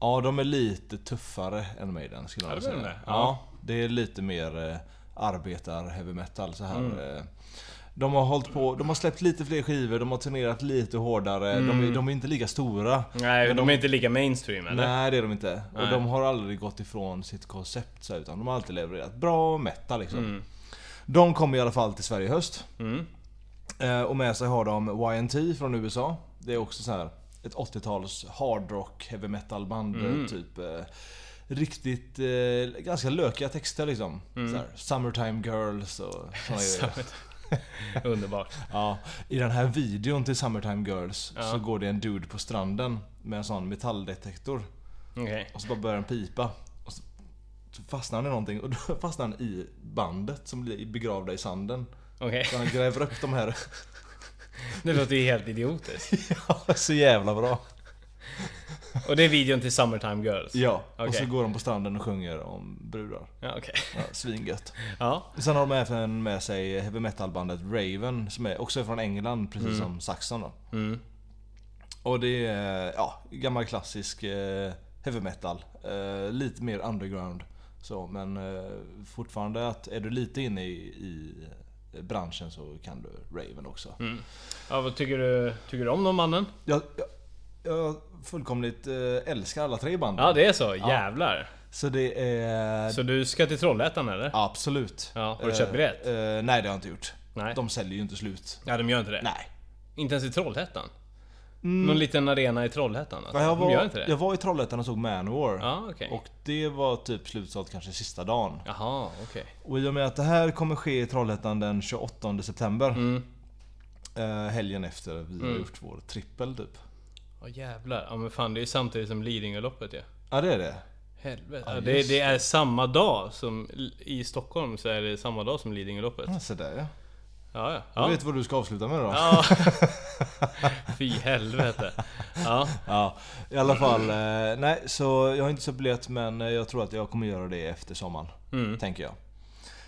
S1: Ja de är lite tuffare än Maiden skulle jag
S2: Ja, det
S1: säga.
S2: är de det.
S1: Ja. det är lite mer eh, arbetar heavy metal så här.
S2: Mm.
S1: eh. De har hållit på, de har släppt lite fler skivor, de har turnerat lite hårdare.
S2: Mm.
S1: De, är, de är inte lika stora.
S2: Nej, de, är inte lika mainstream eller?
S1: Nej det är de inte. Och
S2: Nej.
S1: de har aldrig gått ifrån sitt koncept så här, utan de har alltid levererat bra metal liksom. De kommer i alla fall till Sverige i höst.
S2: Mm.
S1: Eh, Och med sig har de YNT från USA. Det är också så här ett 80-tals hardrock, heavy metal band eh,
S2: Mm.
S1: typ. eh, Riktigt, eh, ganska lökiga texter liksom.
S2: Mm.
S1: Så här, Summertime girls och såna grejer.
S2: Underbart.
S1: Ja, I den här videon till Summertime girls
S2: Ja.
S1: så går det en dude på stranden med en sån metalldetektor.
S2: Okej.
S1: Och så bara börjar den pipa. Och så så fastnar han i någonting och då fastnar han i bandet som blir begravda i sanden.
S2: Okej.
S1: Så han gräver upp de här.
S2: Det låter ju helt idiotiskt.
S1: Ja, så jävla bra.
S2: Och det är videon till Summertime Girls?
S1: Ja, och
S2: Okej.
S1: så går de på stranden och sjunger om brudar.
S2: Ja, okej.
S1: Ja, svingött.
S2: Ja.
S1: Sen har de även med sig heavy metal-bandet Raven som är också är från England precis som Saxon då.
S2: Mm.
S1: Och det är ja, gammal klassisk eh, heavy metal. Eh, lite mer underground. Så, men eh, fortfarande att är du lite inne i, i branschen så kan du Raven också.
S2: Mm. ja, vad tycker du, tycker du om den mannen?
S1: Jag, jag, jag fullkomligt eh, älskar alla tre banden.
S2: Ja, det är så. Jävlar.
S1: Så det är...
S2: Så du ska till Trollhättan eller?
S1: Absolut.
S2: Ja, har du köpt
S1: Eh,
S2: biljett?
S1: eh, nej, det har jag inte gjort.
S2: Nej.
S1: De säljer ju inte slut.
S2: Ja, de gör inte det.
S1: Nej.
S2: Inte ens i Trollhättan? Någon liten arena i Trollhättan? Alltså.
S1: Ja, Jag
S2: de
S1: var,
S2: gör inte det?
S1: jag var i Trollhättan och såg Manowar.
S2: Ja, okej.
S1: Och det var typ slutsålt kanske sista dagen.
S2: Jaha, okej.
S1: Och i och med att det här kommer ske i Trollhättan den 28 september.
S2: Mm.
S1: Eh, helgen efter vi har gjort vår trippel typ.
S2: Åh jävlar. Ja men fan det är ju samtidigt som Lidingöloppet ju. Ja.
S1: Ja det är det.
S2: Helvete.
S1: Ja,
S2: Ja, det,
S1: just
S2: det är samma dag som... I Stockholm så är det samma dag som Lidingöloppet.
S1: Ja, så där ja.
S2: Ja, ja.
S1: Du
S2: ja.
S1: vet vad du ska avsluta med då?
S2: ja. Fy helvete. Ja.
S1: Ja, i alla fall. Eh, nej, så jag har inte köpt biljett men eh, jag tror att jag kommer göra det efter sommaren.
S2: Mm.
S1: Tänker jag.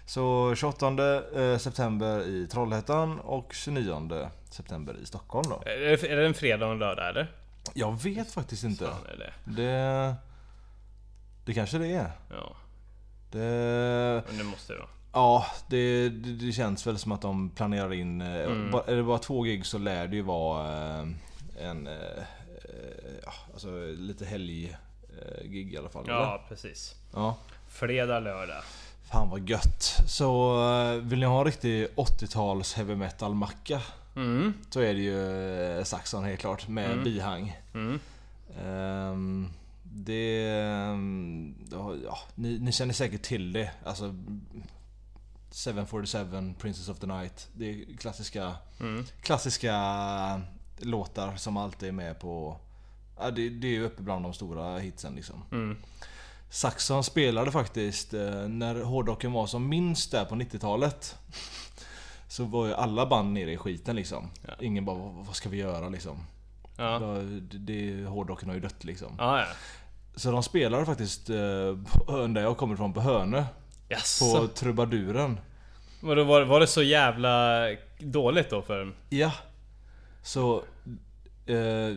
S1: Så 28 eh, september i Trollhättan och 29 september i Stockholm då.
S2: Är det, är det en fredag och en lördag eller?
S1: Jag vet faktiskt inte.
S2: Fan är det.
S1: Det... Det kanske det är.
S2: Ja.
S1: Det...
S2: Men det måste det vara.
S1: Ja, det, det, det känns väl som att de planerar in... eh,
S2: Mm.
S1: ba- Är det bara två gig så lär det ju vara eh, en... eh, eh, ja, alltså lite helg-gig i alla fall. eller?
S2: Ja, precis.
S1: ja.
S2: Fredag, lördag.
S1: Fan vad gött. Så eh, vill ni ha en riktig 80-tals heavy metal macka
S2: Mm.
S1: så är det ju eh, Saxon helt klart med bihang.
S2: Mm.
S1: Ehm, det... ehm, ja, ja, ni, ni känner säkert till det. Alltså 747, Princess of the Night. Det är klassiska,
S2: Mm.
S1: klassiska låtar som alltid är med på... Ja, det, det är ju uppe bland de stora hitsen liksom.
S2: Mm.
S1: Saxon spelade faktiskt eh, när hårdrocken var som minst där på 90-talet. Så var ju alla band nere i skiten liksom.
S2: Ja.
S1: Ingen bara "Vad- vad ska vi göra liksom.
S2: Ja.
S1: Ja. Det, det, hårdrocken har ju dött liksom.
S2: Ja, ja.
S1: Så de spelade faktiskt eh, på ön där jag kommer ifrån, på Hönö. På
S2: Jaså?
S1: trubaduren.
S2: Vadå, var, var det så jävla dåligt då för dem?
S1: Ja. Så... Eh,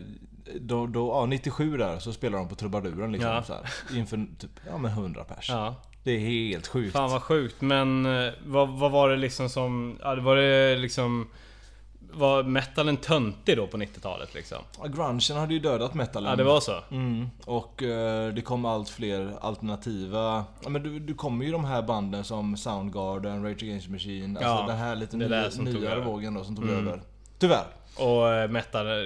S1: då, då, ja, 97 där så spelade de på trubaduren liksom.
S2: Ja.
S1: Så här, inför typ, ja men 100 pers.
S2: Ja.
S1: Det är helt sjukt.
S2: Fan vad sjukt. Men eh, vad, vad var det liksom som... ja, det Var det liksom... Var metalen töntig då på 90-talet liksom?
S1: Ja, Grungen hade ju dödat metalen.
S2: Ja, det var så?
S1: Mm. Och eh, det kom allt fler alternativa... Ja, men du, du kommer ju de här banden som Soundgarden, Rage Against the Machine. Alltså
S2: Ja,
S1: den här lite
S2: det
S1: ny,
S2: där som tog
S1: nyare
S2: över. Mm.
S1: vågen då som tog över. Tyvärr.
S2: Och eh,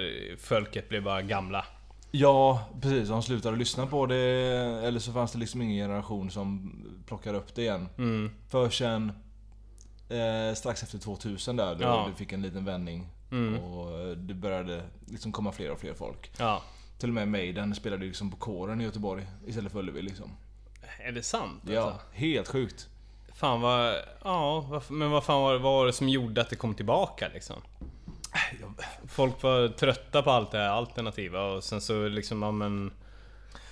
S2: metal-folket blev bara gamla.
S1: Ja, precis. De slutade lyssna på det. Eller så fanns det liksom ingen generation som plockade upp det igen.
S2: Mm.
S1: För sen... Eh, strax efter 2000 där, då
S2: Ja.
S1: det fick en liten vändning.
S2: Mm.
S1: Och eh, det började liksom komma fler och fler folk.
S2: Ja.
S1: Till och med Maiden spelade ju liksom på kåren i Göteborg istället för Ullevi liksom.
S2: Är det sant?
S1: Ja,
S2: Alltså?
S1: helt sjukt.
S2: Fan vad... Ja, vad, men vad fan var, vad var det som gjorde att det kom tillbaka liksom? Folk var trötta på allt det här alternativa och sen så liksom, ja men...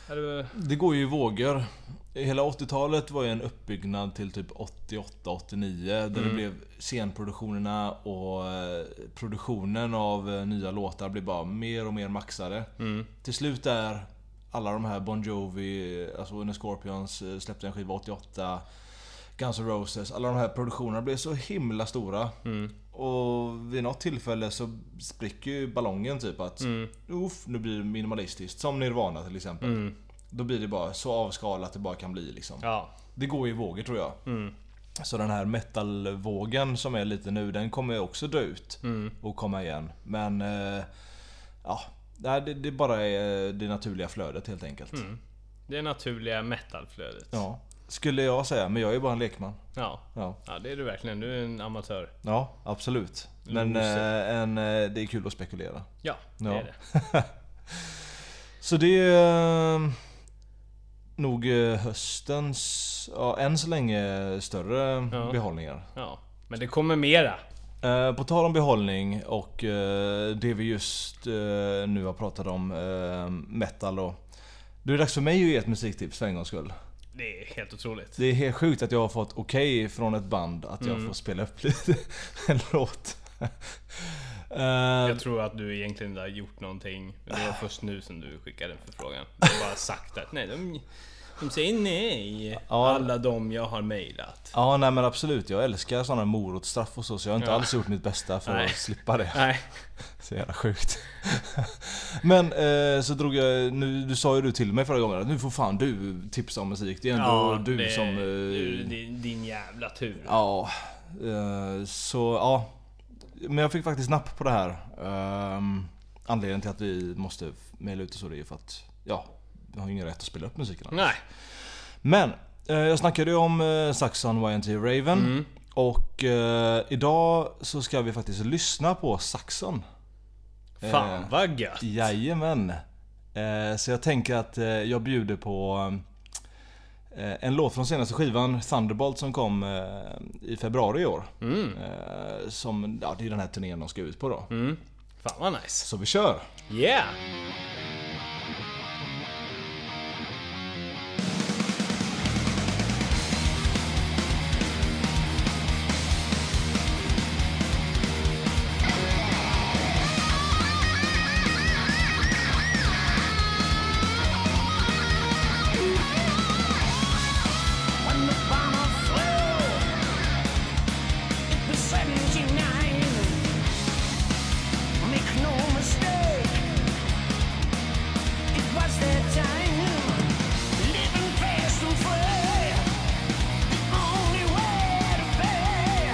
S2: Ja, det var,
S1: Det går ju i vågor. Hela 80-talet var ju en uppbyggnad till typ 88-89 där det blev scenproduktionerna och eh, produktionen av eh, nya låtar blev bara mer och mer maxade.
S2: Mm.
S1: Till slut där alla de här Bon Jovi, alltså When the Scorpions eh, släppte en skiva 88 Guns N' Roses, alla de här produktionerna blev så himla stora. Och vid något tillfälle så spricker ju ballongen typ att Uff, nu blir det minimalistiskt. Som Nirvana till exempel. Då blir det bara så avskalat det bara kan bli liksom.
S2: ja.
S1: Det går i vågor tror jag. Så den här metalvågen som är lite nu, den kommer ju också dö ut och komma igen. Men eh, ja, nej, det, det bara är eh, det naturliga flödet helt enkelt.
S2: Det naturliga metalflödet.
S1: Ja, skulle jag säga, men jag är ju bara en lekman.
S2: ja.
S1: Ja,
S2: Ja, det är du verkligen. Du är en amatör.
S1: ja absolut. Men eh, en, eh, det är kul att spekulera.
S2: Ja, det
S1: Ja.
S2: är det.
S1: Så det är eh, nog eh, höstens, ja, än så länge, större
S2: Ja.
S1: behållningar.
S2: Ja. Men det kommer mera.
S1: Eh, På tal om behållning och eh, det vi just eh, nu har pratat om, eh, metal då. Det är dags för mig att ge ett musiktips för en gångs skull.
S2: Det är helt otroligt.
S1: Det är helt sjukt att jag har fått okej från ett band att jag
S2: Mm.
S1: får spela upp lite en låt. Eh,
S2: Jag tror att du egentligen inte har gjort någonting. Det var först nu som du skickade den förfrågan. Du har bara sagt att nej, de, De säger nej.
S1: Ja.
S2: Alla de jag har mejlat.
S1: Ja, nej men absolut. Jag älskar sådana morotsstraff och så, så jag har inte
S2: Ja.
S1: alls gjort mitt bästa för
S2: Nej.
S1: att slippa det.
S2: Nej.
S1: Så jävla sjukt. Men eh, så drog jag, nu, du sa ju du till mig förra gången att nu får fan du tipsa om musik. Det är ändå du
S2: det-
S1: som...
S2: du-
S1: Eh,
S2: din, din jävla tur.
S1: ja. Eh, så ja. Men jag fick faktiskt napp på det här. Ehm, anledningen till att vi måste mejla ut och så det är ju för att, ja, vi har ju ingen rätt att spela upp musiken.
S2: Nej.
S1: Men, eh, jag snackade ju om eh, Saxon YNT Raven.
S2: Mm.
S1: Och eh, idag så ska vi faktiskt lyssna på Saxon.
S2: Fan
S1: Eh,
S2: vad gött.
S1: Jajamän. Eh, så jag tänker att eh, jag bjuder på eh, en låt från senaste skivan, Thunderbolt, som kom eh, i februari i år.
S2: Mm.
S1: Eh, som, ja, det är den här turnén de ska ut på då.
S2: Mm. Fan vad nice.
S1: Så vi kör!
S2: Yeah!
S4: When the bomber flew, it was 79. Make no mistake, it was their time. Living fast and free, the only way to pay.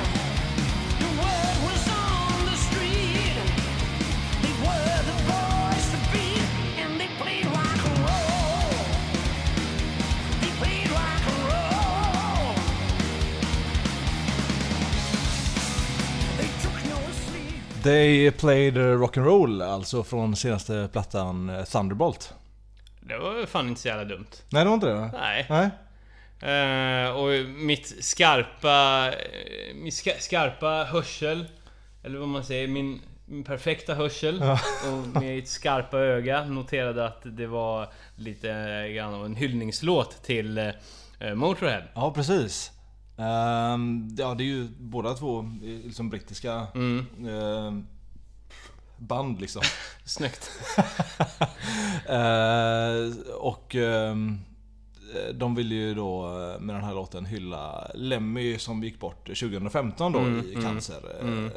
S4: The word was on the street. They were the boys to beat, and they played rock and roll. They played rock and roll. They took no sleep.
S1: They played eh, rock'n'roll, alltså från senaste plattan eh, Thunderbolt.
S2: Det var fan inte så jävla dumt.
S1: Nej, det var inte det? va?
S2: Nej.
S1: Nej?
S2: Eh, och mitt skarpa... eh, Min ska, skarpa hörsel. Eller vad man säger. Min, min perfekta hörsel.
S1: Ja.
S2: Och mitt skarpa öga noterade att det var lite grann av en hyllningslåt till eh, Motorhead.
S1: Ja, precis. Ehm, ja, det är ju båda två eh, liksom brittiska
S2: Mm.
S1: ehm, band liksom.
S2: Snyggt.
S1: Eh, och ehm, de ville ju då eh, med den här låten hylla Lemmy som gick bort 2015 då
S2: Mm,
S1: i cancer. Eh,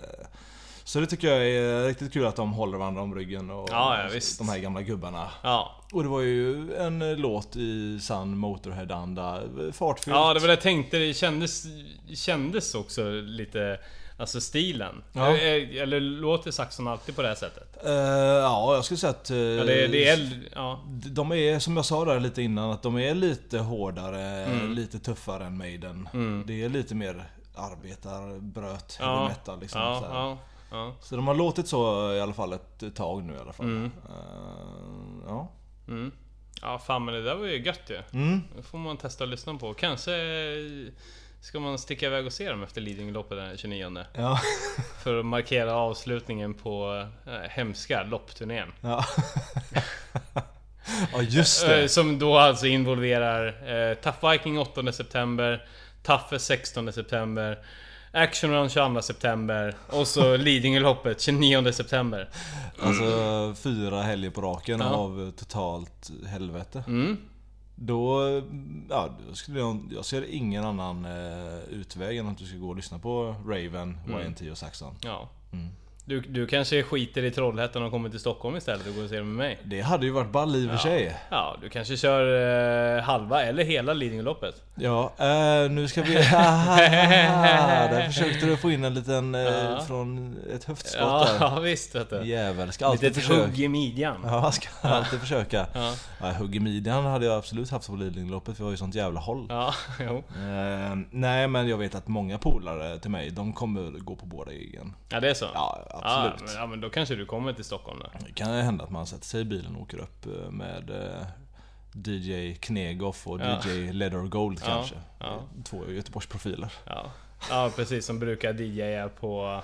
S1: Så det tycker jag är riktigt kul att de håller varandra om ryggen och
S2: Ja, ja, visst.
S1: de här gamla gubbarna.
S2: Ja.
S1: Och det var ju en eh, låt i sann Motorhead-anda. eh, Fartfyllt.
S2: ja, det var det jag tänkte. Det kändes, kändes också lite... Alltså stilen.
S1: Ja.
S2: Eller, eller låter Saxon alltid på det här sättet?
S1: Eh, ja, jag skulle säga att... eh,
S2: Ja, det, det är... äldre- Ja.
S1: De är, som jag sa där lite innan, att de är lite hårdare,
S2: Mm.
S1: lite tuffare än Maiden. Det är lite mer arbetarbröt, heavy metal liksom.
S2: ja,
S1: så, här.
S2: ja, ja.
S1: så de har låtit så eh, i alla fall ett tag nu i alla fall. Eh, ja.
S2: Mm. Ja fan men det där var ju gött ju.
S1: Mm.
S2: Det får man testa att lyssna på. Kanske ska man sticka iväg och se dem efter Lidingöloppet den 29
S1: Ja.
S2: För att markera avslutningen på eh, hemska loppturnén.
S1: ja. ja, just
S2: Eh,
S1: det.
S2: Som då alltså involverar eh, Tough Viking 8 september, Taffe 16 september, Action Run 22 september och så Lidingöloppet 29 september.
S1: Alltså fyra helger på raken
S2: Mm. Ja.
S1: av totalt helvete.
S2: Mm.
S1: Då, ja, då skulle jag, jag ser ingen annan eh, utväg än att du ska gå och lyssna på Raven,
S2: Mm.
S1: YNT och Saxon.
S2: Ja.
S1: Mm.
S2: Du, du kanske skiter i Trollhättan och kommer till Stockholm istället och går och ser dem med mig?
S1: Det hade ju varit ball i och för sig.
S2: Ja, du kanske kör eh, halva eller hela Lidingöloppet.
S1: Ja, eh, nu ska vi... Haha, Där försökte du få in en liten eh,
S2: Ja.
S1: från ett höftskott
S2: Ja,
S1: där.
S2: ja, visst vet du.
S1: Jävel, ska alltid
S2: Litet hugg
S1: försöka.
S2: i midjan.
S1: Ja, ska alltid försöka.
S2: Ja.
S1: Ja, hugg i midjan hade jag absolut haft på Lidingöloppet för vi har ju sånt jävla håll.
S2: Ja, jo.
S1: Eh, nej men jag vet att många polare till mig, de kommer gå på båda giggen.
S2: Ja, det är så?
S1: Ja,
S2: Ja,
S1: absolut.
S2: men, ja, men då kanske du kommer till Stockholm då.
S1: Det kan ju hända att man sätter sig i bilen och åker upp eh, med eh, DJ Knegoff och
S2: Ja.
S1: DJ Leather Gold
S2: Ja,
S1: kanske.
S2: ja.
S1: Två Göteborgsprofiler.
S2: Ja. ja, precis som brukar DJa på...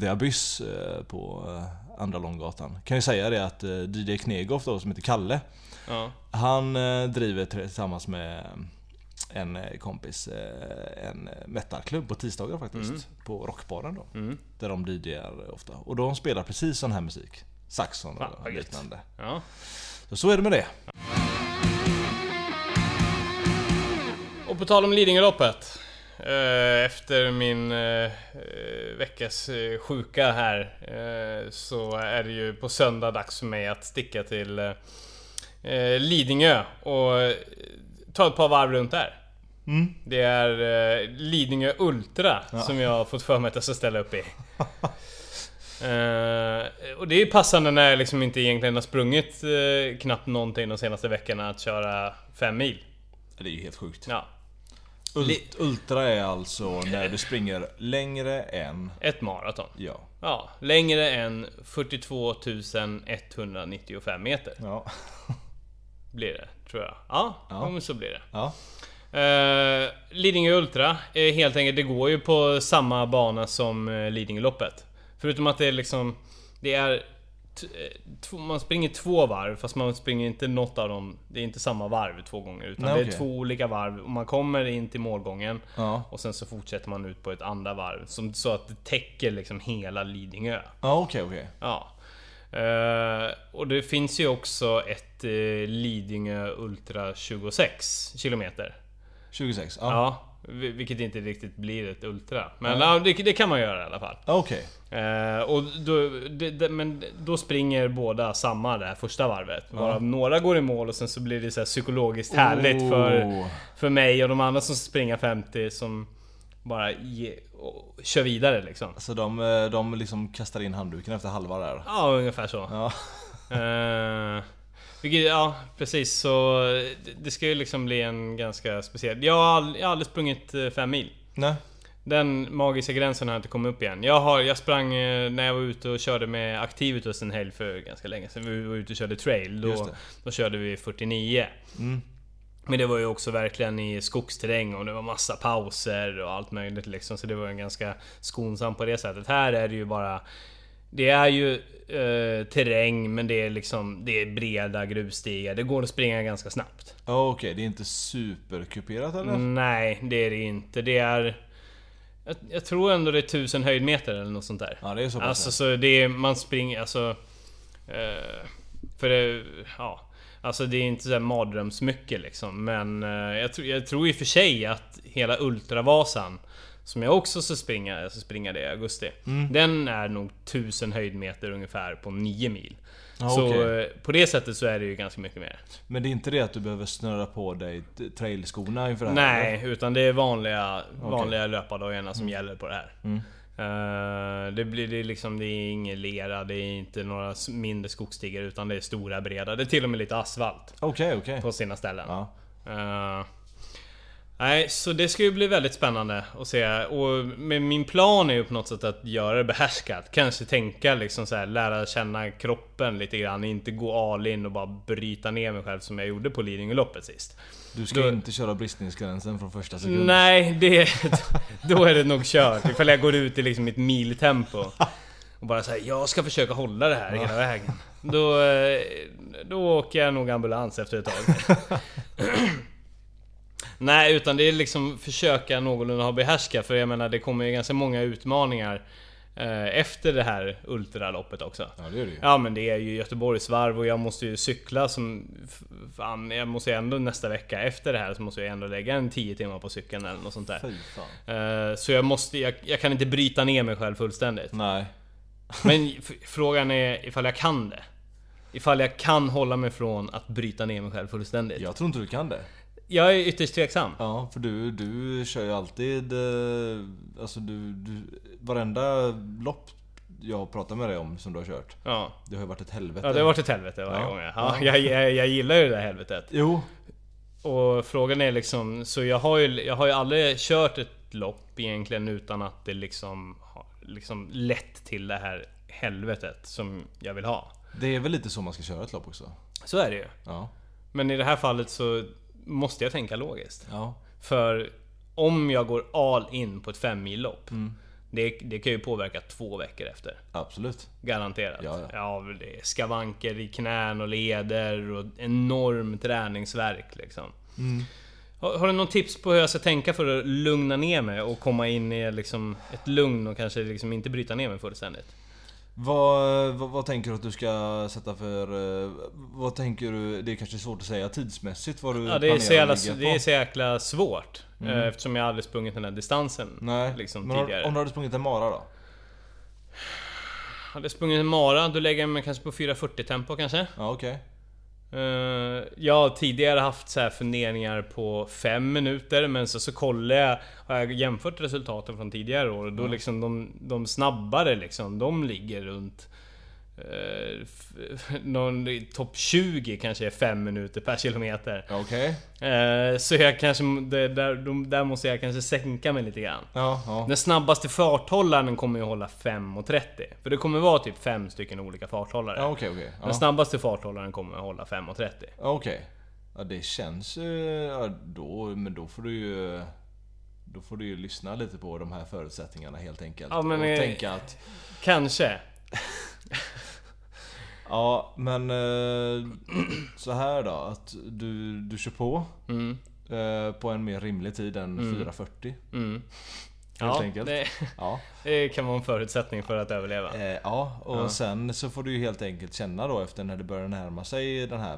S1: The Abyss eh, på eh, Andra Långgatan. Kan ju säga det att eh, DJ Knegoff då, som heter Kalle,
S2: Ja.
S1: han eh, driver tillsammans med en eh, kompis eh, en metalklubb på tisdagar faktiskt. På Rockbaren då.
S2: Mm.
S1: Där de DJar ofta. Och de spelar precis sån här musik. Saxon
S2: Fan, vad
S1: och
S2: gött.
S1: liknande.
S2: Ja.
S1: Så så är det med det.
S2: Och på tal om Lidingöloppet. eh, Efter min eh, eh, veckas eh, sjuka här eh, så är det ju på söndag dags för mig att sticka till eh, eh, Lidingö och eh, ta ett par varv runt där.
S1: Mm.
S2: Det är eh, Lidingö Ultra som jag har fått för mig att jag ska ställa upp i. Eh, och det är passande när jag liksom inte egentligen har sprungit eh, knappt någonting de senaste veckorna att köra fem mil.
S1: Det är ju helt sjukt.
S2: Ja,
S1: Ult, ultra är alltså när du springer längre än...
S2: ett maraton.
S1: Ja.
S2: Ja, längre än 42 195 meter
S1: Ja.
S2: blir det, tror jag. Ja, ja. men så blir det.
S1: ja.
S2: Eh, Lidingö Ultra, är helt enkelt, det går ju på samma bana som eh, Lidingöloppet. Förutom att det är liksom... Det är... t- eh, Två, man springer två varv fast man springer inte något av dem. Det är inte samma varv två gånger utan
S1: Nej,
S2: det är
S1: okej.
S2: två olika varv och man kommer in till målgången.
S1: Ja.
S2: Och sen så fortsätter man ut på ett andra varv som, så att det täcker liksom hela Lidingö.
S1: Ja okej okej.
S2: Ja. Eh, och det finns ju också ett eh, Lidingö Ultra 26 kilometer.
S1: 26. Ja.
S2: Ja. vi- vilket inte riktigt blir ett Ultra. Men ja, det, det kan man göra i alla fall.
S1: Ja, Okej.
S2: Eh, och då, det, det, men då springer båda samma det här första varvet. Varav några går i mål och sen så blir det så här psykologiskt härligt
S1: Oh.
S2: för, för mig och de andra som springer 50 som bara ge, och, kör vidare liksom.
S1: Så de, eh, de liksom kastar in handduken efter halva där.
S2: Ja, ungefär så.
S1: Ja.
S2: Eh, vilket, ja precis så det, det ska ju liksom bli en ganska speciell... Jag har, ald- jag har aldrig sprungit eh, fem mil.
S1: Nej.
S2: Den magiska gränsen har inte kommit upp igen. Jag, har, jag sprang eh, när jag var ute och körde med aktiv utrustning helg för ganska länge sedan. Vi var ute och körde
S1: Just
S2: trail. Då,
S1: det. Mm.
S2: då körde vi 49. Men det var ju också verkligen i skogsterräng och det var massa pauser och allt möjligt liksom. Så det var ju ganska skonsam på det sättet. Här är det ju bara... Det är ju eh, terräng men det är liksom... Det är breda grusstigar. Det går att springa ganska snabbt.
S1: Ja, Okej, det är inte superkuperat eller?
S2: Mm. Nej, det är det inte. Det är... Jag, jag tror ändå det är 1000 höjdmeter eller något sånt där.
S1: Ja, det är så pass,
S2: Alltså
S1: ja.
S2: så det är, man springer alltså... eh, för det, ja. Alltså det är inte såhär mardrömsmycket liksom. Men eh, jag, tror- jag tror i och för sig att hela Ultravasan som jag också ska springa, jag ska springa det i augusti.
S1: Mm.
S2: Den är nog 1000 höjdmeter ungefär på 9 mil. så
S1: okej.
S2: eh, på det sättet så är det ju ganska mycket mer.
S1: Men det är inte det att du behöver snöra på dig t- trailskorna inför det här?
S2: Nej, utan det är vanliga, vanliga löpardojorna som gäller på det här.
S1: Mm.
S2: Eh, det blir det är liksom, det är ingen lera, det är inte några s- mindre skogsstigar utan det är stora breda. Det är till och med lite asfalt
S1: Okej, okej.
S2: på sina ställen.
S1: Ja.
S2: Eh, nej, så det ska ju bli väldigt spännande att se. Och men min plan är ju på något sätt att göra det behärskat. Kanske tänka liksom så här, lära känna kroppen lite grann. Inte gå all in och bara bryta ner mig själv som jag gjorde på Lidingöloppet sist.
S1: Du ska
S2: Då-
S1: inte köra bristningsgränsen från första sekunden.
S2: Nej, det, då är det nog kört. Ifall jag går ut i liksom mitt miltempo. Och bara säger jag ska försöka hålla det här hela vägen. Då, eh, då åker jag nog ambulans efter ett tag. Nej, utan det är liksom försöka någorlunda ha behärska. För jag menar, det kommer ju ganska många utmaningar eh, efter det här ultraloppet också.
S1: Ja, det är det ju.
S2: Ja men det är ju Göteborgsvarv och jag måste ju cykla som... f- Fan, jag måste ju ändå nästa vecka efter det här så måste jag ändå lägga en 10 timmar på cykeln eller något sånt där.
S1: Fy fan.
S2: Eh, Så jag måste, jag, jag kan inte bryta ner mig själv fullständigt.
S1: Nej.
S2: Men f- frågan är ifall jag kan det. Ifall jag kan hålla mig från att bryta ner mig själv fullständigt.
S1: Jag tror inte du kan det.
S2: Jag är ytterst tveksam.
S1: Ja, för du, du kör ju alltid... eh, Alltså du, du... Varenda lopp jag pratar med dig om som du har kört.
S2: Ja.
S1: Det har ju varit ett helvete.
S2: Ja, det har varit ett helvete varje
S1: Ja.
S2: gång. ja. Ja, jag, jag, jag gillar ju det där helvetet.
S1: Jo.
S2: Och frågan är liksom, så jag har ju, jag har ju aldrig kört ett lopp egentligen utan att det liksom har liksom lett till det här helvetet som jag vill ha.
S1: Det är väl lite så man ska köra ett lopp också?
S2: Så är det ju.
S1: Ja.
S2: Men i det här fallet så måste jag tänka logiskt.
S1: Ja.
S2: För om jag går all in på ett femmillopp, det, det kan ju påverka två veckor efter.
S1: Absolut.
S2: Garanterat.
S1: Ja, ja.
S2: det är skavanker i knän och leder och enorm träningsverk liksom.
S1: Mm.
S2: Har, har du någon tips på hur jag ska tänka för att lugna ner mig och komma in i liksom ett lugn och kanske liksom inte bryta ner mig fullständigt?
S1: Vad, vad, vad tänker du att du ska sätta för... eh, Vad tänker du, det är kanske svårt att säga tidsmässigt vad du
S2: Ja, det, är så
S1: planerar
S2: jävla,
S1: att ligga
S2: det är
S1: på. Mm.
S2: så jäkla svårt. eh, Eftersom jag aldrig sprungit den här distansen.
S1: Nej,
S2: Liksom
S1: men om-
S2: tidigare.
S1: om du hade sprungit en mara då?
S2: Hade jag sprungit en mara, då lägger jag mig kanske på 4.40 tempo kanske.
S1: Ja okej.
S2: Eh, jag har tidigare haft så här funderingar på 5 minuter men så, så kollar jag, har jag jämfört resultaten från tidigare år och då liksom de, de snabbare liksom, de ligger runt eh, f- någon i topp 20 kanske är 5 minuter per kilometer.
S1: Okej.
S2: Eh, så jag kanske, det, där, de, där måste jag kanske sänka mig lite grann.
S1: Ja, ja.
S2: Den snabbaste farthållaren kommer ju hålla 5.30. För det kommer vara typ fem stycken olika farthållare.
S1: Ja okej okej.
S2: Den
S1: Ja.
S2: snabbaste farthållaren kommer hålla 5.30.
S1: Ja, Okej. Ja det känns... eh, Ja, då, men då får du ju... Då får du ju lyssna lite på de här förutsättningarna helt enkelt.
S2: Ja, men,
S1: och
S2: eh,
S1: tänka att...
S2: Kanske.
S1: Ja men... eh, Så här då. Att du, du kör på. eh, På en mer rimlig tid än 4.40.
S2: Mm.
S1: Helt
S2: Ja,
S1: enkelt.
S2: Det,
S1: Ja.
S2: det kan vara en förutsättning för att överleva.
S1: Eh, ja, och sen så får du ju helt enkelt känna då efter när det börjar närma sig den här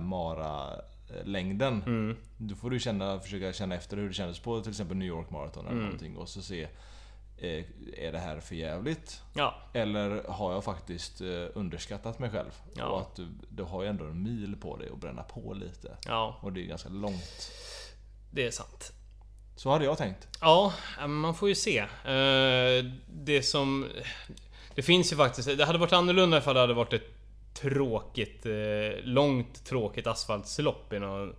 S1: mara-längden.
S2: Mm.
S1: Då får du känna, försöka känna efter hur det kändes på till exempel New York Marathon eller någonting och så se eh, Är det här för jävligt?
S2: Ja,
S1: Eller har jag faktiskt eh, underskattat mig själv?
S2: Ja.
S1: Och att du, du har ju ändå en mil på dig att bränna på lite.
S2: ja,
S1: Och det är ganska långt.
S2: det är sant.
S1: Så hade jag tänkt.
S2: Ja, men man får ju se. Eh, Det som... Det finns ju faktiskt... Det hade varit annorlunda ifall det hade varit ett tråkigt, eh, långt tråkigt asfaltslopp i någon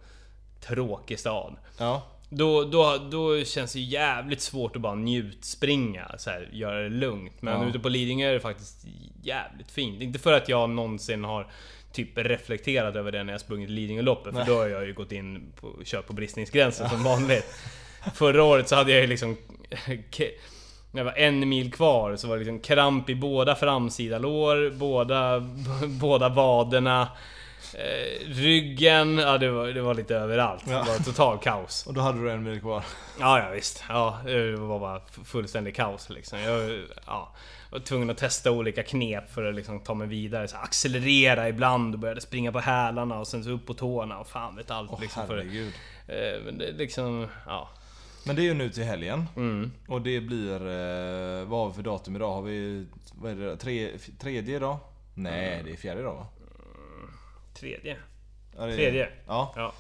S2: tråkig stad.
S1: Ja,
S2: Då, då, då känns det ju jävligt svårt att bara njutspringa, så här, göra det lugnt. Men
S1: Ja.
S2: ute på Lidingö är det faktiskt jävligt fint. Inte för att jag någonsin har typ reflekterat över det när jag sprungit Lidingöloppet, för då har jag ju gått in på, kört på bristningsgränsen som vanligt. Förra året så hade jag ju liksom... När det var en mil kvar så var det liksom kramp i båda framsida lår, båda, båda vaderna, eh, ryggen. Ja, det, var, det var lite överallt.
S1: Ja.
S2: Det var total kaos.
S1: och då hade du en mil kvar.
S2: Ja, ja visst. Ja, det var bara fullständig kaos liksom. Jag ja, var tvungen att testa olika knep för att liksom ta mig vidare. Så accelerera ibland och började springa på hälarna och sen så upp på tårna och fan vet allt.
S1: Åh
S2: liksom, för,
S1: herregud.
S2: eh, men det, liksom, ja.
S1: Men det är ju nu till helgen. Och det blir... Eh, vad har vi för datum idag? Har vi... Vad är det? Tre, f- tredje idag? Nej, det är fjärde idag va?
S2: Tredje.
S1: Ja, det är-
S2: Tredje.
S1: Ja.
S2: Ja.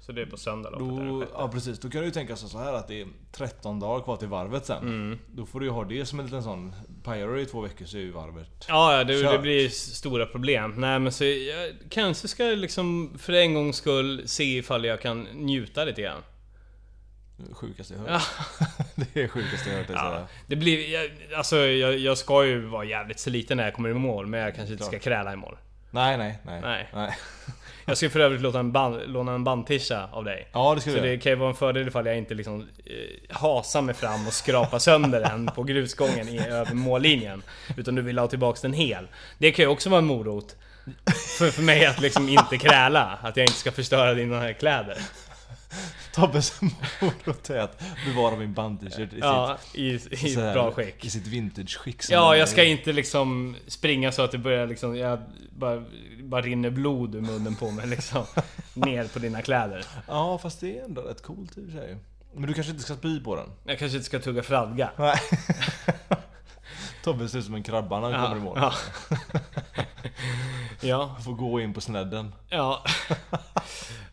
S2: Så det är på söndag loppet är den
S1: Då,
S2: sjätte.
S1: ja precis, då kan du ju tänka sig så här att det är 13 dagar kvar till varvet sen. Då får du ju ha det som en liten sån... Pajar du i två veckor så är ju varvet...
S2: Ja, ja det, det
S1: Kört.
S2: blir s- stora problem. Nej men så jag kanske ska jag liksom för en gångs skull se ifall jag kan njuta lite grann.
S1: Sjukaste jag hört. det är sjukaste jag hört. Ja.
S2: Det blir, jag, alltså jag, jag ska ju vara jävligt sliten när jag kommer i mål, men jag kanske inte ska
S1: Klart.
S2: kräla i mål.
S1: Nej, nej, nej.
S2: Nej.
S1: nej.
S2: Jag ska för övrigt låta en band, låna en bandtisha av dig.
S1: Ja, det ska
S2: Så
S1: du
S2: det
S1: göra.
S2: kan ju vara en fördel ifall jag inte liksom eh, hasar mig fram och skrapar sönder den på grusgången i, över mållinjen. Utan du vill ha tillbaks den hel. Det kan ju också vara en morot. För, för mig att liksom inte kräla. Att jag inte ska förstöra dina kläder.
S1: Tobbes morot är att bevara min bandage i
S2: Ja, i,
S1: sitt...
S2: i
S1: så här-
S2: bra skick.
S1: I sitt vintage-skick. som
S2: Ja,
S1: den
S2: jag
S1: är
S2: ska
S1: i.
S2: inte liksom springa så att det börjar liksom... Jag bara, bara rinner blod ur munnen på mig liksom. Ner på dina kläder.
S1: Ja, fast det är ändå rätt coolt i och för sig. Men du kanske inte ska spy på den?
S2: Jag kanske inte ska tugga fradga.
S1: Nej. Tobbe ser ut som en krabba när han kommer i mål.
S2: ja. ja,
S1: Får gå in på snedden.
S2: ja.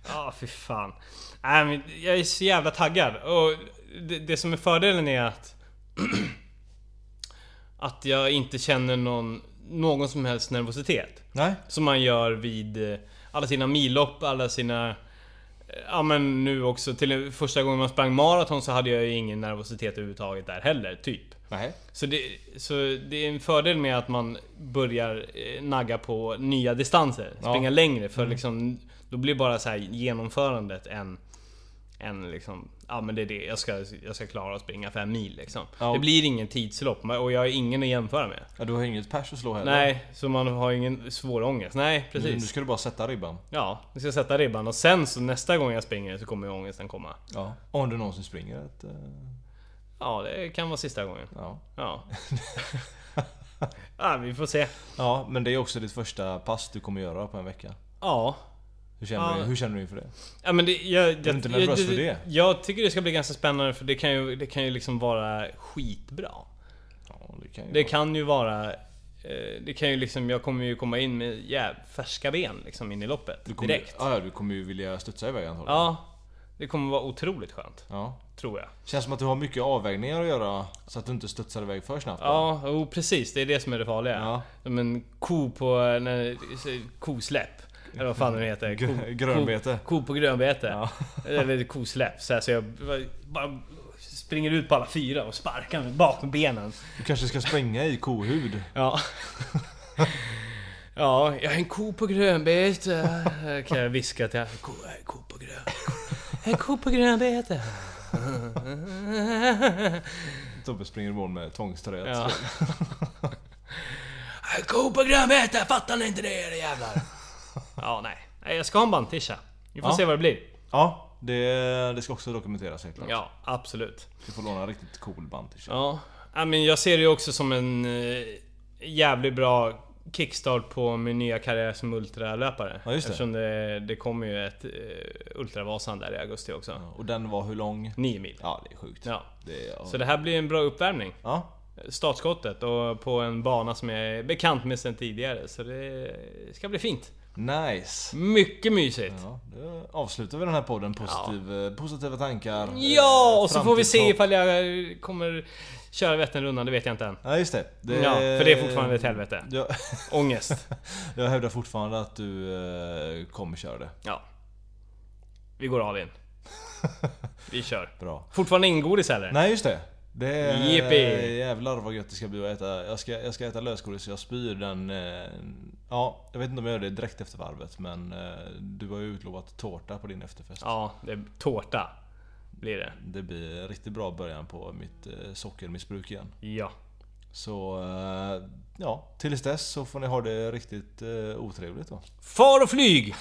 S2: Ja, fy fan. Nej, men jag är så jävla taggad. Och det, det som är fördelen är att... att jag inte känner någon, någon som helst nervositet.
S1: Nej.
S2: Som man gör vid eh, alla sina millopp, alla sina... eh, Ja men nu också, till första gången man sprang maraton så hade jag ju ingen nervositet överhuvudtaget där heller, typ.
S1: Nej.
S2: Så det, så det är en fördel med att man börjar eh, nagga på nya distanser, springa längre,
S1: Mm.
S2: för liksom... Då blir bara så här genomförandet en... En liksom, ja men det är det, jag ska, jag ska klara att springa fem mil liksom.
S1: Ja, och-
S2: Det blir ingen tidslopp och jag är ingen att jämföra med.
S1: Ja, du har inget pers att slå heller.
S2: Nej, så man har ingen svår ångest. Nej,
S1: Nu
S2: precis.
S1: ska du bara sätta ribban.
S2: Ja, vi ska sätta ribban och sen så nästa gång jag springer så kommer ju ångesten komma.
S1: Ja. Om du någonsin springer ett... eh,
S2: Ja, det kan vara sista gången.
S1: Ja.
S2: Ja. Ja, vi får se.
S1: Ja, men det är också ditt första pass du kommer göra på en vecka.
S2: Ja.
S1: Hur känner,
S2: Ja.
S1: du, hur känner du inför det?
S2: Ja, men det, jag,
S1: du inte nervös
S2: jag,
S1: för det?
S2: Jag tycker det ska bli ganska spännande för det kan ju, det kan ju liksom vara skitbra.
S1: Ja, det kan ju
S2: Det
S1: vara.
S2: kan ju vara... eh, Det kan ju liksom, jag kommer ju komma in med jäv, färska ben liksom in i loppet
S1: du kommer,
S2: direkt.
S1: Ja, ja, du kommer ju vilja studsa iväg antagligen.
S2: Ja, det kommer vara otroligt skönt.
S1: ja.
S2: Tror jag.
S1: Känns som att du har mycket avvägningar att göra så att du inte studsar iväg för snabbt.
S2: Ja, oh, precis. Det är det som är det farliga.
S1: Ja.
S2: Som en ko på... Nej, kosläpp. Eller vad fan det heter. Ko,
S1: Gr- grönbete.
S2: Ko, ko på grönbete. Eller kosläpp. Så, här, så jag bara springer ut på alla fyra och sparkar med bakom benen.
S1: Du kanske ska springa i kohud.
S2: Ja. Ja, jag är en ko på grönbete. Kan jag viska till henne. Ko, jag är en ko på grönbete. En ko på grönbete.
S1: Tobbe springer i mål med tvångströja.
S2: Ja.
S3: Ko Äh, på grönbete, fattar ni inte det era jävlar?
S2: ja, nej. nej. Jag ska ha en bandtisha. Vi får
S1: Ja.
S2: se vad det blir.
S1: Ja, det, det ska också dokumenteras helt klart.
S2: Ja, absolut.
S1: Du får låna en riktigt cool bandage.
S2: Ja. ja, men jag ser det ju också som en eh, jävligt bra kickstart på min nya karriär som ultralöpare.
S1: Ja, just det.
S2: Eftersom det, det kommer ju ett eh, Ultravasan där i augusti också.
S1: Och den var hur lång?
S2: Nio mil.
S1: Ja, det är sjukt.
S2: Ja.
S1: Det, är- ja.
S2: Så det här blir en bra uppvärmning.
S1: ja.
S2: startskottet och på en bana som jag är bekant med sedan tidigare. Så det ska bli fint.
S1: Nice.
S2: Mycket mysigt!
S1: Ja, då avslutar vi den här podden. Positiv, eh, Positiva tankar. eh,
S2: Ja, och så får vi se
S1: framtidshopp.
S2: ifall jag eh, kommer köra Vätternrundan, det vet jag inte än.
S1: Ja, just det. det
S2: Ja, för det är fortfarande ett helvete.
S1: Jag,
S2: Ångest.
S1: jag hävdar fortfarande att du eh, kommer köra det.
S2: Ja. Vi går all in. Vi kör.
S1: Bra.
S2: Fortfarande ingen godis heller?
S1: Nej, just det. Det är eh,
S2: Yippee.
S1: jävlar vad gött det ska bli att äta. Jag ska, jag ska äta lösgodis så jag spyr den... Eh, ja, jag vet inte om jag gör det direkt efter varvet men eh, du har ju utlovat tårta på din efterfest.
S2: Ja, det är tårta. Blir det.
S1: Det blir en riktigt bra början på mitt eh, sockermissbruk igen.
S2: Ja.
S1: Så eh, ja, tills dess så får ni ha det riktigt eh, otrevligt då.
S2: Far och flyg!